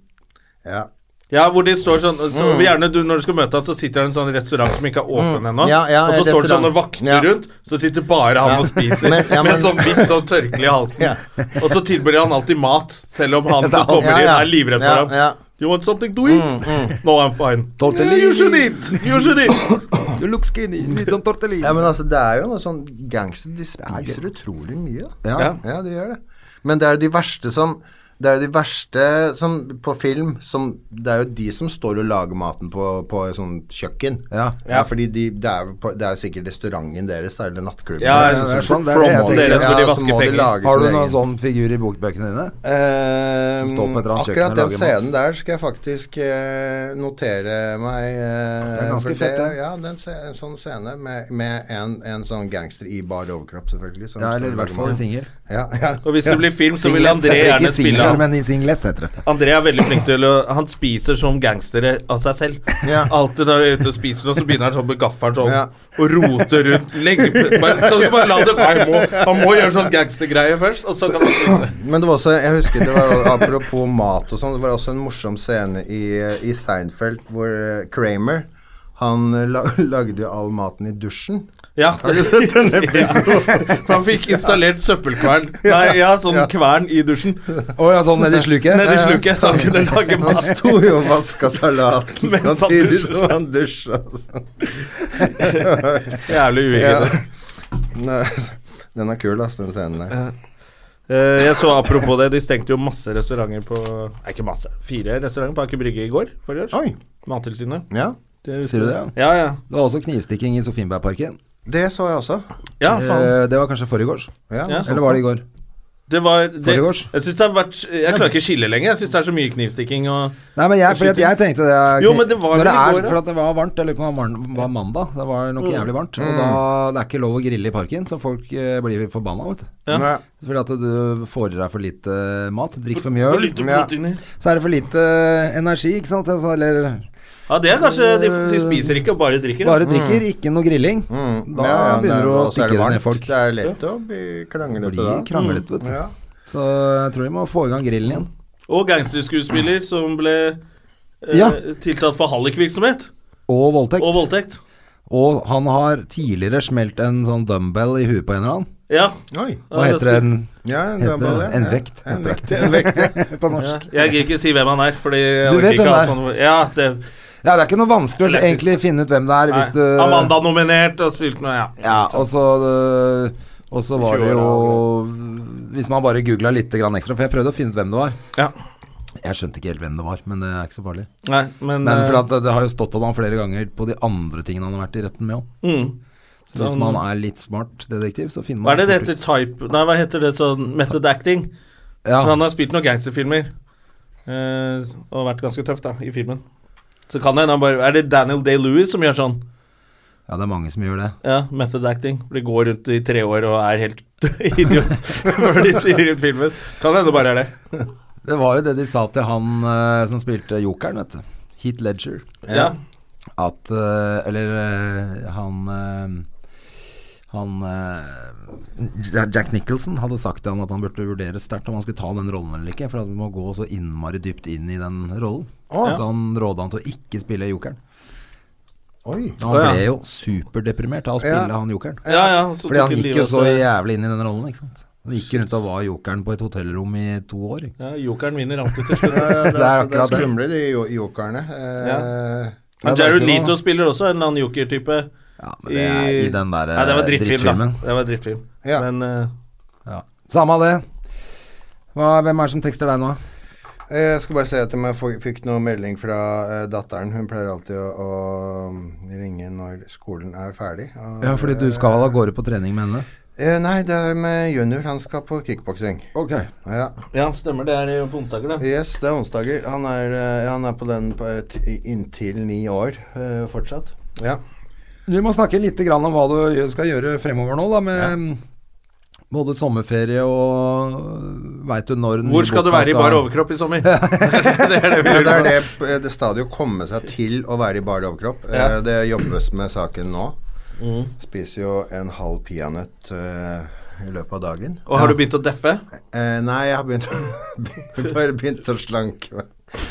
Speaker 3: Ja.
Speaker 2: Ja, hvor de står sånn
Speaker 3: Mm.
Speaker 2: så Gjerne du, når du skal møte han, så sitter han i en sånn restaurant som ikke er åpen ennå.
Speaker 3: Ja, ja,
Speaker 2: og så står det
Speaker 3: restaurant.
Speaker 2: sånne vakter
Speaker 3: Ja.
Speaker 2: rundt, så sitter bare han og spiser
Speaker 3: <laughs> Men- ja,
Speaker 2: med
Speaker 3: men-
Speaker 2: sånn hvitt sånn tørkle i halsen.
Speaker 3: Ja.
Speaker 2: Og så tilbyr han alltid mat, selv om
Speaker 3: <laughs>
Speaker 2: han som
Speaker 1: Ja,
Speaker 2: kommer inn,
Speaker 3: ja.
Speaker 2: er livredd for
Speaker 3: Ja,
Speaker 2: ham.
Speaker 3: ja. Mm,
Speaker 2: You want something to eat? No, I'm fine.
Speaker 1: Tortellini.
Speaker 2: You should eat! You should
Speaker 3: <laughs>
Speaker 2: eat!
Speaker 1: You look skinny, litt som tortellini.
Speaker 3: ja, men altså, det er jo noe sånn Gangster, de spiser utrolig mye. da.
Speaker 1: Ja.
Speaker 2: Ja.
Speaker 3: Ja, de gjør det. Men det er jo de verste som Det er jo de verste som, på film som Det er jo de som står og lager maten på, på et sånt kjøkken.
Speaker 1: Ja.
Speaker 3: fordi de, det, er, jo på- det er sikkert restauranten deres, da, eller nattklubben.
Speaker 2: Ja,
Speaker 3: eller
Speaker 2: jeg
Speaker 3: noe
Speaker 2: synes
Speaker 3: sånt.
Speaker 1: det er sånn, det er det jeg
Speaker 3: Så
Speaker 1: tenker. Deres
Speaker 3: må de-
Speaker 2: burde
Speaker 3: ja, så
Speaker 2: vaske
Speaker 3: må de
Speaker 2: penger.
Speaker 3: lage
Speaker 1: Har
Speaker 3: sin
Speaker 1: du noen
Speaker 3: egen.
Speaker 1: sånn figur i bokbøkene dine?
Speaker 3: Eh,
Speaker 1: Som står på et eller annet kjøkken og
Speaker 3: akkurat den
Speaker 1: lager mat.
Speaker 3: scenen der skal jeg faktisk eh, notere meg. Eh,
Speaker 1: Det er ganske
Speaker 3: for
Speaker 1: fett, det.
Speaker 3: Ja, den se, en sånn scene med, med en, en sånn gangster i bar overkropp, selvfølgelig. som
Speaker 1: Ja,
Speaker 3: står
Speaker 1: eller
Speaker 3: og
Speaker 1: i hvert
Speaker 3: lager
Speaker 1: fall
Speaker 3: mat.
Speaker 1: en singel.
Speaker 3: Ja, ja.
Speaker 2: Og hvis det blir film, så vil
Speaker 1: Singlet
Speaker 2: André
Speaker 1: heter det
Speaker 2: gjerne
Speaker 1: ikke
Speaker 2: spille
Speaker 1: singler, men i singlet heter det.
Speaker 2: André er veldig flink til å Han spiser som gangstere av seg selv.
Speaker 3: Ja.
Speaker 2: Alltid når vi er ute og spiser noe, så begynner han sånn med gaffelen sånn
Speaker 3: Ja.
Speaker 2: og roter rundt lenge bare, Kan du ikke bare la det gå? Han må- Han må gjøre sånn gangstergreie først, og så kan han spise.
Speaker 3: Men det var også, jeg husker det var <laughs> jo- apropos mat og sånn, det var også en morsom scene i, i Seinfeld hvor eh, Kramer han eh, la, <laughs> lagde jo all maten i dusjen.
Speaker 2: Ja.
Speaker 3: Har du sett den episoden?
Speaker 2: For han fikk installert søppelkvern. Nei, ja, sånn kvern i dusjen.
Speaker 1: Å ja, sånn nedi sluket? Ja,
Speaker 2: Nedi
Speaker 1: ja.
Speaker 2: sluket, så han kunne lage
Speaker 3: Han
Speaker 2: mat.
Speaker 3: sto jo og vaska salaten
Speaker 2: <laughs> Mens han
Speaker 3: samtidig
Speaker 2: dusjer.
Speaker 3: som han dusja.
Speaker 2: <laughs>
Speaker 3: altså.
Speaker 2: Jævlig
Speaker 3: Ja.
Speaker 2: uhyggelig.
Speaker 3: Nei, Den er kul, ass, den scenen der.
Speaker 2: Eh, jeg så apropos det, de stengte jo masse restauranter på Nei, ikke masse. Fire restauranter på Aker Brygge i går. forrige år.
Speaker 3: Oi.
Speaker 2: Mattilsynet.
Speaker 3: Ja.
Speaker 1: Sier du det? ja?
Speaker 2: Ja, ja.
Speaker 1: Det var også knivstikking i Sofienbergparken.
Speaker 3: Det så jeg også.
Speaker 2: Ja, faen.
Speaker 1: Eh, det var kanskje forrige
Speaker 3: Ja,
Speaker 2: Ja.
Speaker 1: Eller var det i går?
Speaker 2: Det var det,
Speaker 1: Foregårs.
Speaker 2: Jeg syns det har vært Jeg klarer ikke å skille lenger. Jeg syns det er så mye knivstikking og
Speaker 1: Nei, men jeg, fordi at jeg tenkte det er-
Speaker 2: Jo, men det var
Speaker 1: Når
Speaker 2: vel
Speaker 1: det
Speaker 2: i
Speaker 1: er,
Speaker 2: går, Mm. da?
Speaker 1: For at det var varmt. Jeg lurer på om det var mar- var mandag. Det var nok jævlig varmt. Og da det er ikke lov å grille i parken, så folk eh, blir forbanna, vet du.
Speaker 2: Ja.
Speaker 3: Nei.
Speaker 1: Fordi at du får i deg for lite eh, mat. Drikker for mye
Speaker 2: for
Speaker 1: øl.
Speaker 2: lite
Speaker 3: Ja.
Speaker 2: proteiner.
Speaker 1: Så er det for lite eh, energi, ikke sant. Altså, eller
Speaker 2: Ja, det er kanskje De, de spiser ikke og bare drikker. da.
Speaker 1: bare drikker, ikke noe grilling.
Speaker 3: Mm,
Speaker 1: Da
Speaker 3: ja, ja, det er-
Speaker 1: begynner du å
Speaker 3: og så er
Speaker 1: stikke
Speaker 3: det
Speaker 1: det
Speaker 3: varmt.
Speaker 1: ned folk.
Speaker 3: Det er lett å bli kranglete
Speaker 1: Blir
Speaker 3: da.
Speaker 2: Mm.
Speaker 1: kranglete, vet du.
Speaker 3: Ja.
Speaker 1: Så jeg tror de må få i gang grillen igjen.
Speaker 2: Og gangsterskuespiller som ble eh,
Speaker 1: Ja.
Speaker 2: tiltalt for hallikvirksomhet
Speaker 1: Og voldtekt.
Speaker 2: og voldtekt.
Speaker 1: Og han har tidligere smelt en sånn dumbbell i huet på en eller annen.
Speaker 2: Ja.
Speaker 3: Oi.
Speaker 1: Hva
Speaker 2: Ja, det
Speaker 1: heter det? En,
Speaker 3: Ja, det
Speaker 1: heter
Speaker 3: var
Speaker 1: det
Speaker 3: bare det.
Speaker 1: en
Speaker 3: Ja.
Speaker 1: vekt? heter
Speaker 3: En vekt. En vekt. ja.
Speaker 1: det. <laughs> på norsk.
Speaker 2: Ja. Jeg gidder ikke si hvem han er, fordi jeg
Speaker 1: Du
Speaker 2: orker
Speaker 1: vet
Speaker 2: ikke
Speaker 1: hvem
Speaker 2: ha
Speaker 1: det er.
Speaker 2: sånn Ja, det
Speaker 1: Ja, det er ikke noe vanskelig å egentlig finne ut hvem det er
Speaker 2: nei.
Speaker 1: hvis du
Speaker 2: Amanda-nominert og spilt noe Ja.
Speaker 1: Ja, og så øh, og så var det jo Hvis man bare googla litt grann ekstra For jeg prøvde å finne ut hvem det var.
Speaker 2: ja.
Speaker 1: Jeg skjønte ikke helt hvem det var, men det er ikke så farlig.
Speaker 2: Nei, men,
Speaker 1: Men
Speaker 2: eh,
Speaker 1: for at det har jo stått om han flere ganger på de andre tingene han har vært i retten med òg.
Speaker 2: mm.
Speaker 1: Så hvis man er litt smart detektiv, så finner man
Speaker 2: Sånn. Hva er det det
Speaker 1: fort
Speaker 2: heter?
Speaker 1: ut.
Speaker 2: Type Nei, hva heter det sånn Method acting?
Speaker 1: Ja.
Speaker 2: Han har spilt noen gangsterfilmer eh, og vært ganske tøff da, i filmen. Så kan det hende han bare Er det Daniel Day-Lewis som gjør sånn?
Speaker 1: ja, det er mange som gjør det.
Speaker 2: Ja, method acting. De går rundt i tre år og er helt <laughs> idiot før de spiller ut filmen. Kan hende det bare er det.
Speaker 1: Det var jo det de sa til han øh, som spilte jokeren, vet du. Heat Ledger.
Speaker 2: Ja.
Speaker 1: At øh, Eller øh, han øh, han øh, Ja- Jack Nicholson hadde sagt til han at han burde vurdere sterkt om han skulle ta den rollen eller ikke, for at du må gå så innmari dypt inn i den rollen.
Speaker 3: <laughs> Å.
Speaker 1: Så han råda han til å ikke spille jokeren.
Speaker 3: Oi.
Speaker 1: Og
Speaker 2: Å,
Speaker 1: han
Speaker 2: ja.
Speaker 1: ble jo superdeprimert av å spille
Speaker 3: Ja.
Speaker 1: han jokeren.
Speaker 2: ja, ja. Så
Speaker 1: Fordi
Speaker 2: tok
Speaker 1: han
Speaker 2: hun
Speaker 1: gikk
Speaker 2: livet
Speaker 1: jo
Speaker 2: av
Speaker 1: så
Speaker 2: seg.
Speaker 1: jævlig inn i den rollen, ikke sant. Han gikk rundt og var jokeren på et hotellrom i to år. Ikke?
Speaker 2: ja, Jokeren vinner alltid til slutt.
Speaker 3: Ja, ja, det,
Speaker 1: Det er
Speaker 3: er, det er
Speaker 1: akkurat det.
Speaker 3: skumle, de jo- jokerne. Eh,
Speaker 2: Men
Speaker 1: det er
Speaker 2: Jared
Speaker 1: ikke noe-
Speaker 2: Leto spiller også en annen joker-type.
Speaker 1: Ja, men det er i den der
Speaker 2: Nei, det var
Speaker 1: eh,
Speaker 2: drittfilm, da.
Speaker 1: drittfilmen.
Speaker 2: Det var drittfilm.
Speaker 3: Ja.
Speaker 2: Men eh,
Speaker 1: Ja. Samme av det. Hva, hvem er det som tekster deg nå?
Speaker 3: Eh, Jeg skal bare se etter om jeg få- fikk noe melding fra eh, datteren. Hun pleier alltid å, å mm, ringe når skolen er ferdig. Og,
Speaker 1: Ja, fordi du skal av gårde på trening med henne.
Speaker 3: Eh, nei, det er med junior. Han skal på kickboksing.
Speaker 1: Ok.
Speaker 3: Ja.
Speaker 2: ja, stemmer. Det er på onsdager, det.
Speaker 3: Yes, det er onsdager. Han er, eh, han er på den på, et- i- inntil ni år eh, fortsatt.
Speaker 2: Ja.
Speaker 1: Vi må snakke litt grann om hva du gjø- skal gjøre fremover nå, da, med mm, både sommerferie og Veit du når den
Speaker 2: Hvor
Speaker 1: nye
Speaker 2: skal du
Speaker 1: boka
Speaker 2: være i bar overkropp i sommer? det er det vi
Speaker 3: Ja,
Speaker 2: lurer
Speaker 3: det er
Speaker 2: på.
Speaker 3: det, eh, det stadiet å komme seg til å være i bar overkropp. Eh,
Speaker 2: Ja.
Speaker 3: Det jobbes med saken nå.
Speaker 2: Mm.
Speaker 3: Spiser jo en halv peanøtt eh, i løpet av dagen.
Speaker 2: Og har du begynt å deffe?
Speaker 3: Eh, nei, jeg har begynt å, <laughs> bare begynt å slanke meg. <laughs>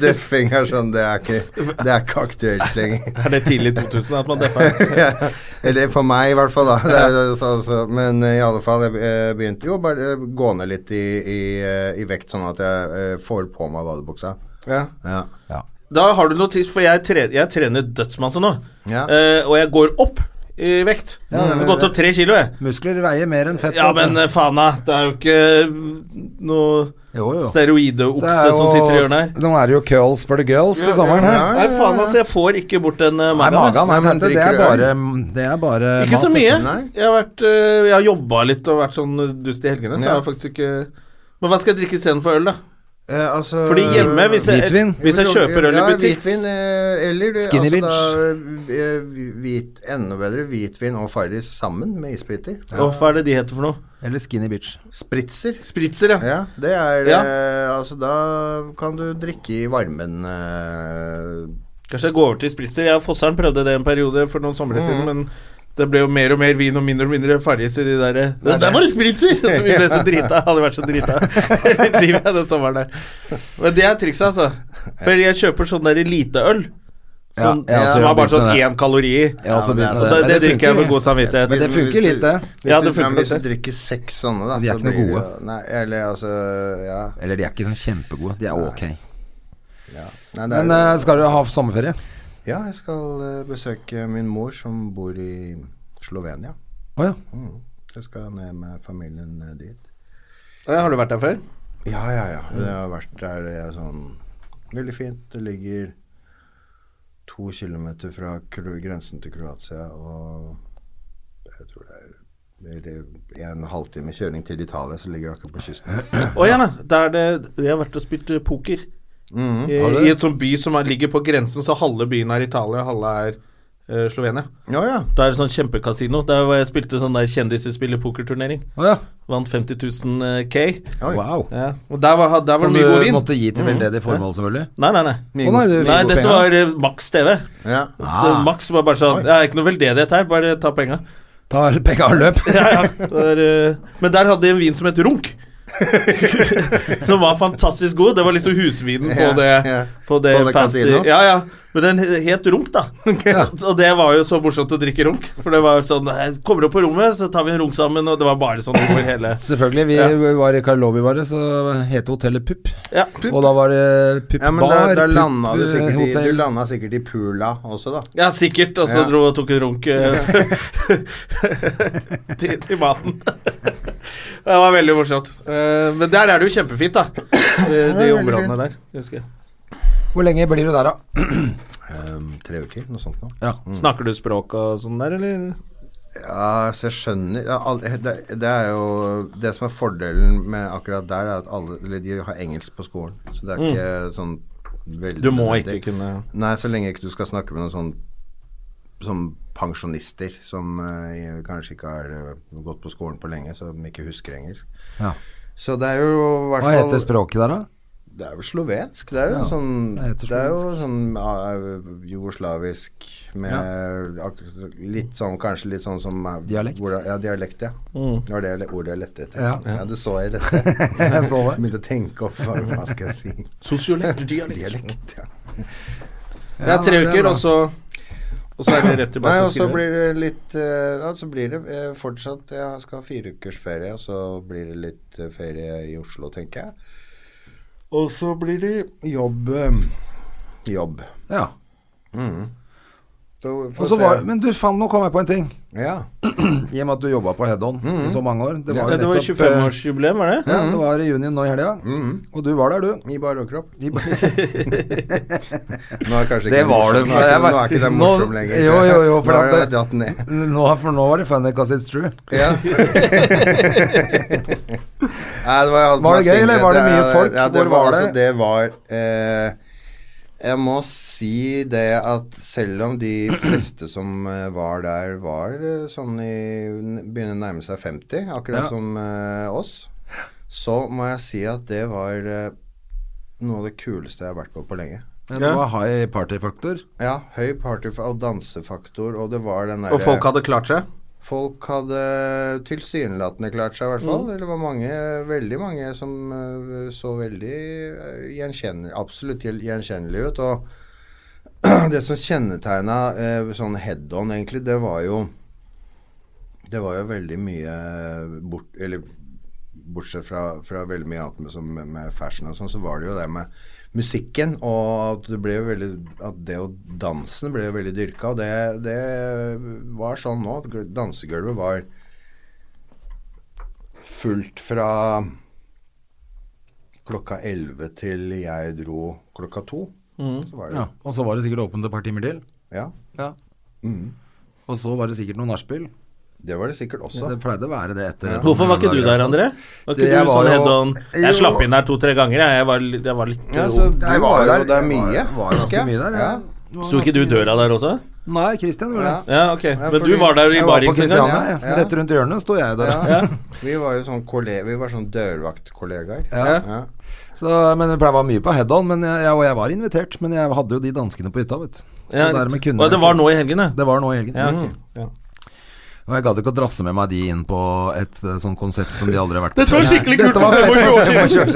Speaker 3: Duffing er sånn Det er ikke, det er ikke aktuelt lenger. <laughs>
Speaker 2: Er det tidlig 2000 at man <laughs> deffer?
Speaker 3: Eller for meg, i hvert fall. da det er, jo så, så, Men eh, i alle fall, jeg eh, begynte jo bare eh, gå ned litt i, i, eh, i vekt, sånn at jeg eh, får på meg badebuksa.
Speaker 2: Ja.
Speaker 3: Ja.
Speaker 1: Ja.
Speaker 2: Da har du noe tips, for jeg, tre jeg trener dødsmasse nå.
Speaker 3: Ja.
Speaker 2: Eh, og jeg går opp i vekt.
Speaker 1: Ja,
Speaker 2: Jeg
Speaker 1: men-
Speaker 2: har gått opp tre kilo, jeg.
Speaker 1: Muskler veier mer enn fett.
Speaker 2: Ja,
Speaker 1: vet du.
Speaker 2: men eh, faen da, det er jo ikke eh, noe
Speaker 1: jo, jo. Det
Speaker 2: steroideokse
Speaker 1: er
Speaker 2: som
Speaker 1: jo-
Speaker 2: sitter i hjørnet her.
Speaker 1: Nå er det jo curls for the girls til
Speaker 3: Ja,
Speaker 1: sommeren
Speaker 3: ja,
Speaker 1: her.
Speaker 3: ja.
Speaker 2: Nei, faen altså, jeg får ikke bort den uh,
Speaker 1: Nei, magen
Speaker 3: Nei,
Speaker 1: er
Speaker 3: men
Speaker 1: tente. Det er
Speaker 3: drikker du
Speaker 1: bare, det er bare
Speaker 2: Ikke så
Speaker 1: mat,
Speaker 2: mye.
Speaker 1: vet du.
Speaker 3: Nei.
Speaker 2: Jeg har, vært, eh, jeg har jobba litt og vært sånn dust i helgene, så jeg har faktisk ikke Men hva skal jeg drikke istedenfor øl, da?
Speaker 3: Eh, altså,
Speaker 2: Fordi hjemme, hvis jeg,
Speaker 1: Øh, Hvitvin.
Speaker 2: Hvis jeg kjøper øl i
Speaker 3: ja,
Speaker 2: butikk
Speaker 3: Hvitvin eh, eller eh,
Speaker 1: Skinny
Speaker 3: altså, da, eh, hvit, Enda bedre hvitvin og Farris sammen med isbiter.
Speaker 2: Åh, Hva er det de heter for noe?
Speaker 1: Eller skinny bitch.
Speaker 3: Spritzer.
Speaker 2: Spritzer, ja.
Speaker 3: Ja, det er
Speaker 2: Ja.
Speaker 3: eh, Altså, da kan du drikke i varmen eh,
Speaker 2: Kanskje jeg går over til spritzer. Jeg og Fosseren prøvde det en periode for noen somre siden, men det ble jo mer og mer vin og mindre og mindre farris i de der Der, der var det spritzer! <laughs> Så vi ble så drita. Hadde vært så drita <laughs> hele livet den sommeren der. Men det er trikset, altså. For jeg kjøper sånn der lite øl.
Speaker 1: Ja, altså,
Speaker 2: Sånn,
Speaker 1: jeg har også
Speaker 2: som
Speaker 1: begynt
Speaker 2: har bare sånn
Speaker 1: med det.
Speaker 2: én kalori i.
Speaker 1: Jeg har også
Speaker 3: Ja, men
Speaker 1: begynt med
Speaker 2: Så
Speaker 3: det er-
Speaker 2: det,
Speaker 1: Men
Speaker 2: det drikker jeg med god
Speaker 1: Men
Speaker 2: samvittighet.
Speaker 1: det
Speaker 3: Hvis-
Speaker 1: funker
Speaker 3: hvis
Speaker 1: litt, det.
Speaker 3: Hvis,
Speaker 2: Ja,
Speaker 3: du,
Speaker 2: det funker
Speaker 3: nei, men hvis
Speaker 2: litt,
Speaker 3: du drikker seks sånne, da
Speaker 1: De er
Speaker 3: så
Speaker 1: ikke noe
Speaker 3: blir det
Speaker 1: gode.
Speaker 3: jo- Nei, eller altså Ja.
Speaker 1: Eller de er ikke sånn kjempegode. De er ok.
Speaker 3: ja. Nei, det er,
Speaker 1: Men eh, skal du ha sommerferie?
Speaker 3: ja, jeg skal eh, besøke min mor som bor i Slovenia.
Speaker 1: Å ja.
Speaker 3: Mm. Jeg skal ned med familien eh, dit.
Speaker 2: Ja, Har du vært der før?
Speaker 3: Ja, ja, ja. Det har vært der det er sånn Veldig fint. Det ligger to kilometer fra Kro grensen til Kroatia og jeg tror det er eller en halvtime kjøring til Italia, så ligger det akkurat på kysten.
Speaker 2: Å ja, da. Der det, jeg har vært og spilt eh, poker.
Speaker 3: Mhm.
Speaker 2: I,
Speaker 1: Har du det?
Speaker 2: I et sånn by som er, ligger på grensen, så halve byen er Italia, halve er eh, Slovenia.
Speaker 3: Ja, ja.
Speaker 2: Det er et sånn kjempekasino. Der hvor jeg spilte sånn der kjendiser spiller pokerturnering.
Speaker 1: Å ja.
Speaker 2: Vant 50 000 eh, K.
Speaker 3: Oi.
Speaker 1: Wow.
Speaker 2: Ja. Og der var, der var
Speaker 1: Som
Speaker 2: det
Speaker 1: du
Speaker 2: mye god vin.
Speaker 1: måtte gi til
Speaker 3: Mm.
Speaker 1: veldedig formål, selvfølgelig.
Speaker 2: Nei, nei, nei.
Speaker 1: Å nei, du-
Speaker 2: Nei,
Speaker 1: god
Speaker 2: dette
Speaker 1: penger.
Speaker 2: var eh, Max TV.
Speaker 3: Ja.
Speaker 1: Ah.
Speaker 2: Det- Max var bare sånn Det er ikke noe veldedighet her, bare ta penga.
Speaker 1: Ta penga og løp.
Speaker 2: <laughs>
Speaker 1: <laughs>
Speaker 2: Ja, ja. Det var, eh, men der hadde de en vin som het Runk. <laughs> som var fantastisk god. Det var liksom husvinen på
Speaker 3: Ja,
Speaker 2: det,
Speaker 3: ja.
Speaker 2: På det,
Speaker 3: På det
Speaker 2: fancy
Speaker 3: kasino?
Speaker 2: Ja, ja. Men den he- het Runk, <laughs> da. Og det var jo så morsomt å drikke Runk. For det var sånn «Hei, Kommer opp på rommet, så tar vi en runk sammen, og det var bare sånn over hele
Speaker 1: Selvfølgelig. Vi var i Karlovy, bare, så het hotellet Pupp.
Speaker 2: Ja.
Speaker 1: Og da var det
Speaker 3: ja, men da,
Speaker 1: puppbar,
Speaker 3: da landa du sikkert i, du
Speaker 1: pupphotell
Speaker 3: landa sikkert i Pula også, da.
Speaker 2: Ja, sikkert. Og så
Speaker 3: Ja.
Speaker 2: dro og tok en runk eh, <laughs> til, til maten. <laughs> det var veldig morsomt. Eh, men der er det jo kjempefint, <coughs> da. De, de
Speaker 3: veldig
Speaker 2: områdene der. husker jeg.
Speaker 1: Hvor lenge blir du der, da?
Speaker 3: Ehm, tre uker, noe sånt nå.
Speaker 2: Snakker du språk og sånn der, eller?
Speaker 3: Ja, så jeg skjønner ja, al- det, det er jo Det som er fordelen med akkurat der, er at alle eller de har engelsk på skolen. Så det er ikke sånn veldig
Speaker 2: Mm. Du må
Speaker 3: nødvendig.
Speaker 2: ikke kunne
Speaker 3: Nei, så lenge ikke du skal snakke med noen sånn som pensjonister som eh, kanskje ikke har eh, gått på skolen på lenge, som ikke husker engelsk.
Speaker 1: Ja.
Speaker 3: Så det er jo i hvert
Speaker 1: Hva
Speaker 3: fall
Speaker 1: heter språket der, da? <laughs>
Speaker 3: Det er jo slovensk. Det er jo
Speaker 1: Ja,
Speaker 3: sånn
Speaker 1: det
Speaker 3: Det,
Speaker 1: heter
Speaker 3: er jo sånn ah, jugoslavisk med ak- litt sånn Kanskje litt sånn som er-
Speaker 1: Dialekt?
Speaker 3: Hvor, ja, dialekt, ja.
Speaker 2: Mm.
Speaker 3: Det var det jeg- ordet jeg lette etter.
Speaker 1: Ja.
Speaker 3: Ja, det så jeg
Speaker 1: <laughs>
Speaker 3: lette. jeg
Speaker 1: så det.
Speaker 3: Begynte å tenke opp hva, hva skal jeg si.
Speaker 2: Sosiolekt, <laughs> dialekt.
Speaker 3: Dialekt, ja.
Speaker 2: Det er
Speaker 1: Ja,
Speaker 2: tre
Speaker 1: det er
Speaker 2: uker,
Speaker 1: bra.
Speaker 2: og så Og så er det rett tilbake
Speaker 3: Nei, og
Speaker 2: til
Speaker 3: så
Speaker 2: skrive.
Speaker 3: blir det litt eh, Ja, så blir det eh, fortsatt Jeg skal ha fire ukers ferie, og så blir det litt eh, ferie i Oslo, tenker jeg. Og så blir det jobb. eh, Jobb.
Speaker 1: Ja. Mm.
Speaker 3: Så får
Speaker 1: Og så
Speaker 3: se.
Speaker 1: var, men du, faen, nå kom jeg på en ting.
Speaker 3: Ja.
Speaker 1: I og med at du jobba på Head-On i så mange år. Det
Speaker 2: Ja,
Speaker 1: var,
Speaker 2: det var
Speaker 1: nettopp,
Speaker 2: 25-årsjubileum, var det?
Speaker 1: eh, Ja, det var i juni nå i helga. Og du var der, du.
Speaker 3: I bar overkropp.
Speaker 1: De,
Speaker 3: <laughs>
Speaker 1: <laughs>
Speaker 3: Nå er kanskje
Speaker 1: Det
Speaker 3: ikke
Speaker 1: var det, for
Speaker 3: morsom- nå er
Speaker 1: jeg
Speaker 3: ikke,
Speaker 1: var-
Speaker 3: nå er ikke det
Speaker 1: nå-
Speaker 3: morsom lenger.
Speaker 1: jo, jo, jo, for at
Speaker 3: nå har jeg
Speaker 1: det-
Speaker 3: datt ned.
Speaker 1: nå, for nå var det funny because it's true.
Speaker 3: Ja. <laughs> Nei, det var, jeg
Speaker 1: Var det
Speaker 3: hadde meg
Speaker 1: gøy, eller
Speaker 3: singlet.
Speaker 1: var det mye
Speaker 3: ja,
Speaker 1: folk?
Speaker 3: Ja, det
Speaker 1: Hvor
Speaker 3: var,
Speaker 1: var det?
Speaker 3: Altså, det var eh, Jeg må si det at selv om de fleste som eh, var der, var eh, sånn i Begynner å nærme seg 50, akkurat
Speaker 1: Ja.
Speaker 3: som eh, oss, så må jeg si at det var eh, noe av det kuleste jeg har vært på på lenge.
Speaker 1: Men
Speaker 2: Ja.
Speaker 1: Det var high party-faktor.
Speaker 3: Ja, høy party og dansefaktor, og det var den derre
Speaker 2: Og folk hadde klart seg?
Speaker 3: Folk hadde tilsynelatende klart seg, i hvert fall. Det var mange, veldig mange som eh, så veldig eh, gjenkjennel- absolutt gjel- gjenkjennelige ut. Og <clears throat> det som kjennetegna eh, sånn head on, egentlig, det var jo Det var jo veldig mye bort, Eller bortsett fra, fra veldig mye annet med, som, med fashion og sånn, så var det jo det med musikken, og at det ble jo veldig At det og dansen ble jo veldig dyrka, og det, det var sånn nå at gl- dansegulvet var fullt fra klokka 11 til jeg dro klokka to.
Speaker 1: Mm.
Speaker 3: Så var det
Speaker 1: Ja. Og så var det sikkert åpent et par timer til.
Speaker 3: Ja.
Speaker 1: Ja. Og så var det sikkert noe nachspiel.
Speaker 3: Det var det sikkert også.
Speaker 1: Det pleide å være det etter.
Speaker 3: Ja.
Speaker 2: Hvorfor var ikke du der, André? Var
Speaker 1: Det-
Speaker 2: ikke
Speaker 1: jeg
Speaker 2: du
Speaker 1: var
Speaker 2: sånn
Speaker 1: jo-
Speaker 2: head on?
Speaker 1: Jo.
Speaker 2: Jeg slapp inn der to-tre ganger, jeg. Jeg var, li- jeg var litt eh,
Speaker 3: Ja,
Speaker 2: ung.
Speaker 3: så du
Speaker 1: Jeg
Speaker 3: var jo
Speaker 1: der-
Speaker 3: der
Speaker 1: jeg
Speaker 3: mye,
Speaker 1: Var, var
Speaker 3: husker
Speaker 1: ganske
Speaker 3: jeg.
Speaker 1: mye der,
Speaker 3: Ja.
Speaker 1: ja.
Speaker 2: Sto ikke du i døra der også?
Speaker 1: Nei, Christian gjorde
Speaker 3: Ja.
Speaker 1: det.
Speaker 2: Ja, ok.
Speaker 3: Ja,
Speaker 2: Men du
Speaker 3: fordi-
Speaker 2: var der i
Speaker 1: Jeg var på
Speaker 2: baring sin gang?
Speaker 1: Christiania, jeg.
Speaker 3: Ja.
Speaker 1: rett rundt hjørnet sto jeg der.
Speaker 3: Ja. Vi var jo sånn, kolle- vi var sånn dørvaktkollegaer.
Speaker 1: Ja.
Speaker 3: Ja.
Speaker 1: Så, men Vi pleier å være mye på head-on, men jeg, jeg, og jeg var invitert. Men jeg hadde jo de danskene på hytta, vet du. Så
Speaker 2: Ja,
Speaker 1: dermed kunne
Speaker 2: og
Speaker 1: jeg-
Speaker 2: det var nå i helgen, det.
Speaker 1: Det var nå i helgen. Mm.
Speaker 2: Ja, ok.
Speaker 1: Og jeg gadd ikke å drasse med meg de inn på et eh, sånt konsept som de aldri har vært på.
Speaker 2: Dette var
Speaker 1: før.
Speaker 2: skikkelig kult
Speaker 1: Dette var
Speaker 2: for 25 år
Speaker 1: fett.
Speaker 2: siden.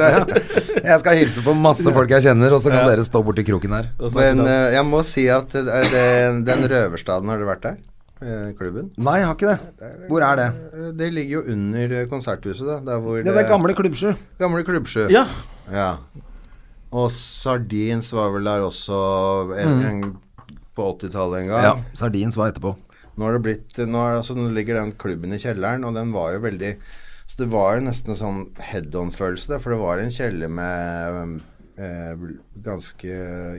Speaker 1: Ja. Jeg skal hilse på masse folk jeg kjenner, og så kan
Speaker 2: Ja.
Speaker 1: dere stå borti kroken her.
Speaker 2: Da snakker
Speaker 3: Men
Speaker 2: vi
Speaker 3: eh, jeg må si at eh, det, den røverstaden, har du vært der? Eh, klubben?
Speaker 1: Nei, jeg har ikke det. Hvor er det?
Speaker 3: Eh, Det ligger jo under eh, konserthuset, da. Der hvor eh,
Speaker 1: Ja, det er gamle klubbsju.
Speaker 3: gamle Klubbsjø.
Speaker 2: Ja.
Speaker 3: Ja. Og Sardins var vel der også eh, en, en, på 80-tallet en
Speaker 1: Mm.
Speaker 3: gang.
Speaker 1: Ja. Sardins var etterpå.
Speaker 3: Nå, har det blitt, nå, er, altså, nå ligger den klubben i kjelleren, og den var jo veldig Så det var jo nesten en sånn head-on-følelse, der, for det var en kjeller med eh, ganske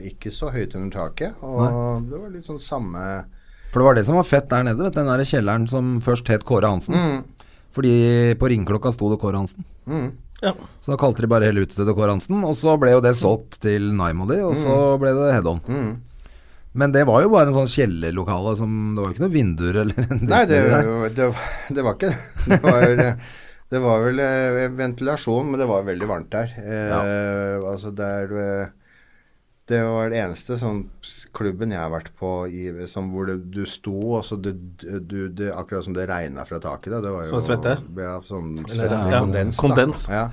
Speaker 3: ikke så høyt under taket. Og det var litt sånn samme
Speaker 1: For det var det som var fett der nede, vet du. Den der kjelleren som først het Kåre Hansen.
Speaker 3: Mm,
Speaker 1: Fordi på ringeklokka sto det Kåre Hansen.
Speaker 2: Ja.
Speaker 1: Så da kalte de bare hele huset til det Kåre Hansen, og så ble jo det solgt til Naimoli, og så
Speaker 3: Mm.
Speaker 1: ble det head on. Men det var jo bare en sånn kjellerlokale som Det var jo ikke noen vinduer eller en dritt
Speaker 3: Nei, det,
Speaker 1: i det.
Speaker 3: det, det var ikke det. Det var, eh, det var vel eh, ventilasjon, men det var veldig varmt der. Eh, Altså der eh, Det var det eneste sånn s- klubben jeg har vært på i, som hvor det, du sto, og så det, du, det Akkurat som det regna fra taket. Da. Det var jo
Speaker 2: Sånn svette?
Speaker 3: Ja, sånn svette,
Speaker 2: ja,
Speaker 3: kondens. da.
Speaker 2: kondens.
Speaker 3: Ja.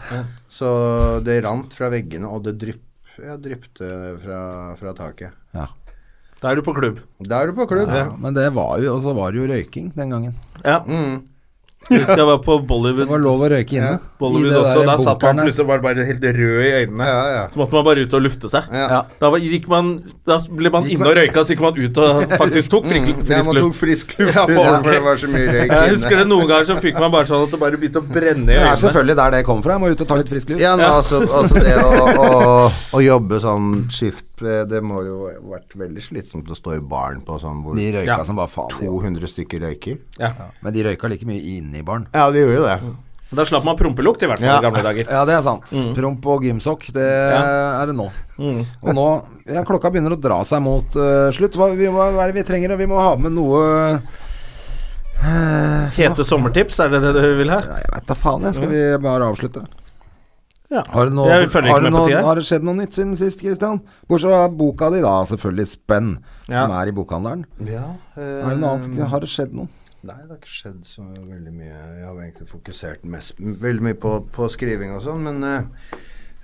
Speaker 3: Så det rant fra veggene, og det drypp, ja, dryppte fra, fra taket.
Speaker 1: Ja.
Speaker 2: Da er du på klubb.
Speaker 3: Da er du på klubb.
Speaker 1: Ja, men det var jo Og så var det jo røyking den gangen.
Speaker 2: Ja.
Speaker 3: Mm.
Speaker 2: Husker jeg var på
Speaker 1: Det var
Speaker 2: Bollywood.
Speaker 1: lov å røyke inne.
Speaker 3: Ja,
Speaker 2: Bollywood
Speaker 1: I det der
Speaker 2: også. Da satt
Speaker 1: bunkeren
Speaker 2: man
Speaker 1: der.
Speaker 2: plutselig og var bare helt rød i øynene.
Speaker 3: Ja, ja.
Speaker 2: Så måtte man bare ut og lufte seg.
Speaker 3: Ja.
Speaker 2: Da, var, gikk man, da ble man
Speaker 1: Gikk
Speaker 2: inne
Speaker 1: man-
Speaker 2: og røyka, så gikk man ut og faktisk tok frik,
Speaker 3: Mm, ja,
Speaker 2: frisk
Speaker 3: man tok
Speaker 2: luft.
Speaker 3: frisk luft.
Speaker 2: Ja, på
Speaker 3: for
Speaker 2: ordentlig.
Speaker 3: det var så mye røyk
Speaker 2: <laughs> Jeg husker
Speaker 3: inne.
Speaker 2: det noen ganger så fikk man bare sånn at det bare begynte å brenne i
Speaker 1: Det er
Speaker 2: øynene.
Speaker 1: selvfølgelig der det kommer fra. Jeg må ut og ta litt frisk luft.
Speaker 3: Ja, men altså, altså det å, å, å jobbe sånn skift eh, Det må jo ha vært veldig slitsomt å stå i baren på sånn hvor
Speaker 1: De røyka
Speaker 2: Ja.
Speaker 1: som bare faen. de gjorde.
Speaker 3: 200 stykker røyker.
Speaker 2: Ja.
Speaker 1: Men de røyka like mye inne i baren.
Speaker 3: Ja, de gjorde jo det.
Speaker 2: Da slapp man prompelukt, i hvert fall
Speaker 3: Ja.
Speaker 2: i gamle dager.
Speaker 1: Ja, det er sant.
Speaker 3: Mm.
Speaker 1: Promp og gymsokk, det er det nå.
Speaker 2: Mm.
Speaker 1: Og nå ja, Klokka begynner å dra seg mot eh, slutt. Hva, vi, hva, hva er det vi trenger? Vi må ha med noe eh,
Speaker 2: Hete sommertips, er det det du vil ha?
Speaker 1: Nei, jeg veit da faen, jeg. Skal vi bare avslutte?
Speaker 2: Ja.
Speaker 1: Har det, noe,
Speaker 2: Jeg følger
Speaker 1: har,
Speaker 2: ikke
Speaker 1: det
Speaker 2: med på
Speaker 1: noe,
Speaker 2: tida.
Speaker 1: har det skjedd noe nytt siden sist, Christian? Bortsett fra boka di, da. Selvfølgelig Spenn,
Speaker 2: Ja.
Speaker 1: som er i bokhandelen.
Speaker 3: Ja, eh,
Speaker 1: Har det, noe annet, har det skjedd noe?
Speaker 3: Nei, det har ikke skjedd så veldig mye. Jeg har egentlig fokusert mest, m- veldig mye på, på skriving og sånn, men eh,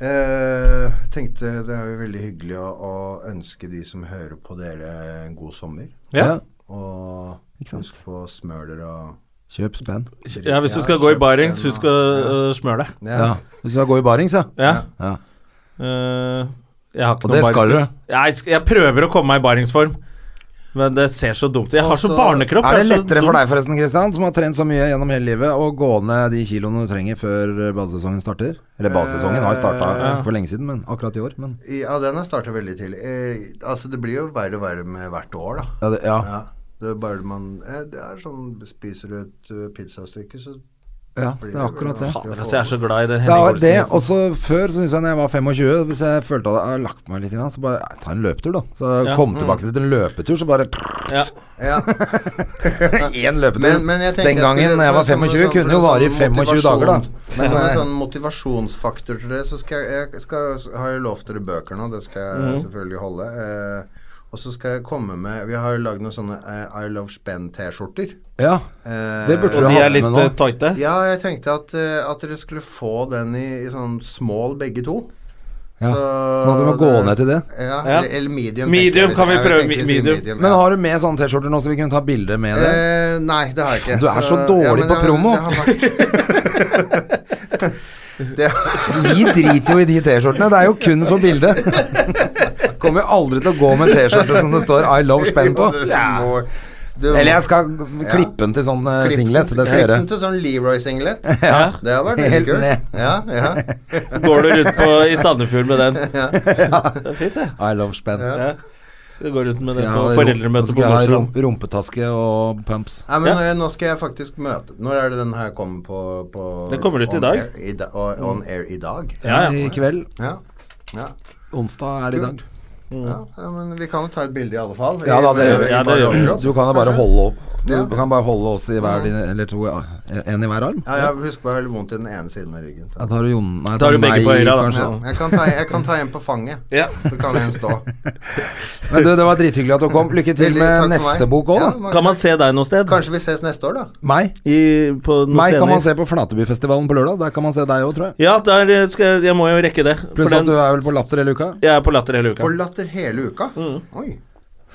Speaker 3: eh, tenkte det er jo veldig hyggelig å, å ønske de som hører på dere, en god sommer.
Speaker 2: Ja.
Speaker 3: Og
Speaker 1: Ikke sant?
Speaker 3: husk på smør dere og
Speaker 1: Kjøp Spenn.
Speaker 2: ja, hvis du skal gå i barings, husk å øh, smøre deg.
Speaker 1: Ja. Du skal gå i barings, ja?
Speaker 2: Ja.
Speaker 1: ja.
Speaker 2: Øh, jeg har ikke
Speaker 1: Og det
Speaker 2: noen
Speaker 1: skal
Speaker 2: barings- Jeg, sk- jeg prøver å komme meg i baringsform, men det ser så dumt ut. Jeg har så
Speaker 3: Også-
Speaker 2: barnekropp.
Speaker 1: Er det
Speaker 2: jeg så
Speaker 1: lettere
Speaker 2: dum-
Speaker 1: for deg forresten, Kristian, som har trent så mye gjennom hele livet, å gå ned de kiloene du trenger før eh, badesesongen starter? Eller badesesongen har starta
Speaker 2: Eh,
Speaker 1: for lenge siden, men akkurat i år. Men
Speaker 3: Ja, den har starta veldig tidlig. Eh, altså, det blir jo verre og verre med hvert år, da.
Speaker 1: ja, det, ja.
Speaker 3: Ja. Det er bare man eh, Det er sånn Spiser du et eh, pizzastykke, så
Speaker 1: ja, det er akkurat det.
Speaker 2: Fader, altså, jeg er så glad i den
Speaker 1: Ja,
Speaker 2: Henning
Speaker 1: og det,
Speaker 2: Olsen-hilsen.
Speaker 1: også før så syntes jeg når jeg var 25, hvis jeg følte at jeg hadde lagt meg litt, grann, så bare jeg, ta en løpetur, da. Så jeg
Speaker 2: Ja.
Speaker 1: kom tilbake til en løpetur, så bare
Speaker 2: Ja.
Speaker 3: Ja.
Speaker 1: <laughs> Én løpetur.
Speaker 3: Men, men jeg tenker
Speaker 1: Den gangen
Speaker 3: skulle-
Speaker 1: jeg var
Speaker 3: for- som en
Speaker 1: 25,
Speaker 3: sånn-
Speaker 1: kunne
Speaker 3: for
Speaker 1: jo
Speaker 3: en
Speaker 1: vare i
Speaker 3: sånn
Speaker 1: 25 dager, da.
Speaker 3: motivasjon-
Speaker 1: Men,
Speaker 3: Som
Speaker 1: <laughs>
Speaker 3: en
Speaker 1: eh,
Speaker 3: sånn motivasjonsfaktor til det, så skal jeg, jeg skal, har jeg lovt dere bøker nå, det skal jeg
Speaker 1: Mhm.
Speaker 3: selvfølgelig holde. Eh, og så skal jeg komme med Vi har jo lagd noen sånne eh, I Love Spenn-T-skjorter.
Speaker 1: ja,
Speaker 3: Eh,
Speaker 1: Det burde
Speaker 2: Og
Speaker 1: du
Speaker 2: de
Speaker 1: ha
Speaker 2: er
Speaker 1: med
Speaker 2: litt
Speaker 1: nå.
Speaker 2: eh, tighte.
Speaker 3: Ja, jeg tenkte at, eh, at dere skulle få den i, i sånn small begge to.
Speaker 1: ja.
Speaker 3: Så-
Speaker 1: Sånn at du må gå
Speaker 3: det-
Speaker 1: ned til det.
Speaker 3: Ja,
Speaker 2: Ja.
Speaker 3: Eller, eller medium.
Speaker 2: Medium
Speaker 3: tenker jeg.
Speaker 2: kan vi
Speaker 3: Jeg vil
Speaker 2: prøve,
Speaker 3: tenke
Speaker 2: mi-
Speaker 3: vi sier
Speaker 2: medium.
Speaker 1: Men
Speaker 3: ja.
Speaker 1: har du med sånne T-skjorter nå, så vi kunne ta bilder med det?
Speaker 3: Eh, nei, Eh, det har jeg ikke.
Speaker 1: Du er så dårlig <laughs>
Speaker 3: men
Speaker 1: på
Speaker 3: det har-
Speaker 1: promo.
Speaker 3: det har vært- <laughs> Det,
Speaker 1: Vi driter jo i de T-skjortene. Det er jo kun for bildet. <laughs> Kommer jo aldri til å gå med T-skjorte som det står 'I love Spain' på.
Speaker 3: <laughs> Ja.
Speaker 1: Eller jeg skal klippe den til sånn eh, singlet. Det skal jeg gjøre.
Speaker 3: Klippen til sånn Leroy-singlet.
Speaker 2: Ja.
Speaker 1: <laughs>
Speaker 3: Det hadde vært veldig
Speaker 1: Helt ned.
Speaker 3: kult. Ja, ja.
Speaker 2: Så går du rundt på, i Sandefjord med den. Det er fint, det.
Speaker 1: I love Spain.
Speaker 3: Ja.
Speaker 2: Ja. Skal gå rundt med
Speaker 1: Skal
Speaker 2: den
Speaker 1: jeg ha
Speaker 2: på
Speaker 1: rom-
Speaker 2: foreldremøte på
Speaker 1: skal jeg ha
Speaker 2: Nordstrand.
Speaker 1: rom- rumpetaske og pumps.
Speaker 3: Nei, men
Speaker 2: Ja.
Speaker 3: eh, nå skal jeg faktisk møte Når er det den her kommer på, på
Speaker 2: Den kommer ut i
Speaker 3: on
Speaker 2: dag.
Speaker 3: air i da- og- on air i dag.
Speaker 2: Ja, ja.
Speaker 1: I kveld.
Speaker 3: Ja. Ja.
Speaker 1: Onsdag er det i dag.
Speaker 3: ja. ja, men vi kan jo ta et bilde i alle fall.
Speaker 1: Ja, da, det gjør vi.
Speaker 3: I-
Speaker 2: Ja, det
Speaker 3: i
Speaker 2: gjør vi.
Speaker 3: barometer.
Speaker 1: Mm. Du kan jo bare holde opp.
Speaker 3: Ja.
Speaker 1: Du kan bare holde oss i hver din Eller to, ja. en i hver arm.
Speaker 3: Ja, jeg husker bare veldig vondt i den ene siden av ryggen.
Speaker 1: Da
Speaker 3: Så.
Speaker 1: tar du Jon Nei,
Speaker 2: Tar du
Speaker 1: meg
Speaker 2: begge på øra, da?
Speaker 1: kanskje.
Speaker 3: Ja,
Speaker 2: sånn.
Speaker 3: jeg, kan ta, jeg kan ta en på fanget.
Speaker 2: Ja.
Speaker 3: Så kan en stå.
Speaker 1: Men du, det var drithyggelig at du kom. Lykke til
Speaker 3: Veldig
Speaker 1: med
Speaker 3: takk for
Speaker 1: neste
Speaker 3: meg.
Speaker 1: bok òg,
Speaker 3: Ja,
Speaker 1: da.
Speaker 3: man-
Speaker 2: Kan man se deg noe sted?
Speaker 3: Kanskje vi ses neste år, da.
Speaker 1: Meg.
Speaker 2: I, på noen
Speaker 1: Meg kan man
Speaker 2: scener?
Speaker 1: se på Flatebyfestivalen på lørdag. Der kan man se deg òg, tror jeg.
Speaker 2: Ja, der eh, skal jeg, jeg må jo rekke det. For
Speaker 1: Pluss at
Speaker 2: den,
Speaker 1: du er vel på Latter hele uka.
Speaker 2: jeg er på Latter hele
Speaker 3: På
Speaker 2: uka.
Speaker 3: Latter hele uka. Oi.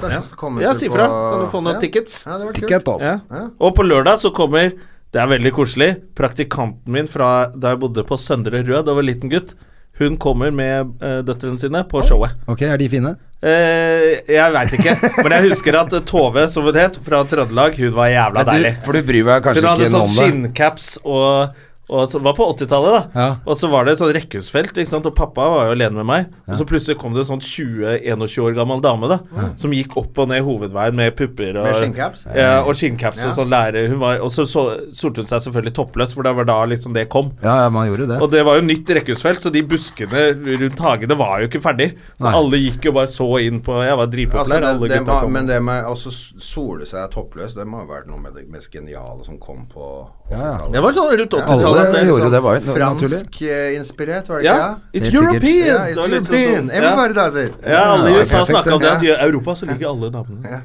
Speaker 3: Kanskje skal komme
Speaker 2: Mm. Ja,
Speaker 3: til
Speaker 2: si
Speaker 3: på-
Speaker 2: fra. Kan du få noen tickets?
Speaker 3: Ja, det var kult.
Speaker 1: Ticket, altså.
Speaker 2: Ja. Og på lørdag så kommer Det er veldig koselig. Praktikanten min fra da jeg bodde på Søndre Rød da jeg var liten gutt, hun kommer med eh, døtrene sine på showet.
Speaker 1: Ok, er de fine?
Speaker 2: Eh, jeg veit ikke, men jeg husker at Tove, som hun het, fra Trøndelag, hun var jævla deilig.
Speaker 1: for du bryr deg
Speaker 2: Hun hadde sånn skinncaps og, og så, var på 80-tallet, da.
Speaker 1: Ja.
Speaker 2: Og så var det et sånn rekkehusfelt, ikke sant? og pappa var jo alene med meg. Og så plutselig kom det en sånn 20-21 år gammel dame da som gikk opp og ned hovedveien med pupper og
Speaker 3: Med skinncaps?
Speaker 2: Ja, og skinncaps og
Speaker 3: Ja.
Speaker 2: sånn lærer. Hun var, og så, så solte hun seg selvfølgelig toppløs, for det var da liksom det kom.
Speaker 1: Ja, ja, man gjorde jo det.
Speaker 2: <laughs> Og det var jo nytt rekkehusfelt, så de buskene rundt hagene var jo ikke ferdig. Så
Speaker 1: Nei.
Speaker 2: alle gikk jo bare så inn på Jeg var
Speaker 3: Altså,
Speaker 2: dritpopulær.
Speaker 3: det,
Speaker 2: alle
Speaker 3: det
Speaker 2: gutta
Speaker 3: må,
Speaker 2: kom.
Speaker 3: men det med å sole seg toppløs, det må ha vært noe med det mest geniale som kom på
Speaker 1: Ja, ja.
Speaker 2: Det var sånn rundt 80-tallet.
Speaker 1: Alle
Speaker 2: at det-
Speaker 3: liksom
Speaker 1: gjorde det, var jo no- naturlig.
Speaker 3: Fransk-inspirert, eh, var det
Speaker 2: Ja,
Speaker 3: ikke?
Speaker 2: it's
Speaker 1: Helt sikkert.
Speaker 2: European!
Speaker 3: Ja,
Speaker 2: Det var litt
Speaker 3: it's European.
Speaker 2: sånn- ja.
Speaker 3: Everybody does it.
Speaker 2: Ja, alle i
Speaker 1: Ja,
Speaker 2: USA
Speaker 1: perfekt,
Speaker 2: snakka om det,
Speaker 3: ja.
Speaker 2: at i Europa så ligger alle damene.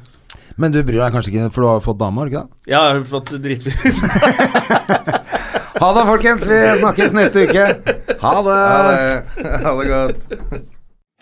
Speaker 1: Men du bryr deg kanskje ikke, for du har jo fått dame, har du ikke det?
Speaker 2: Ja, jeg har fått dritfint.
Speaker 1: Ha det, folkens. Vi snakkes neste uke. Ha det.
Speaker 3: Ha det. Ha det godt.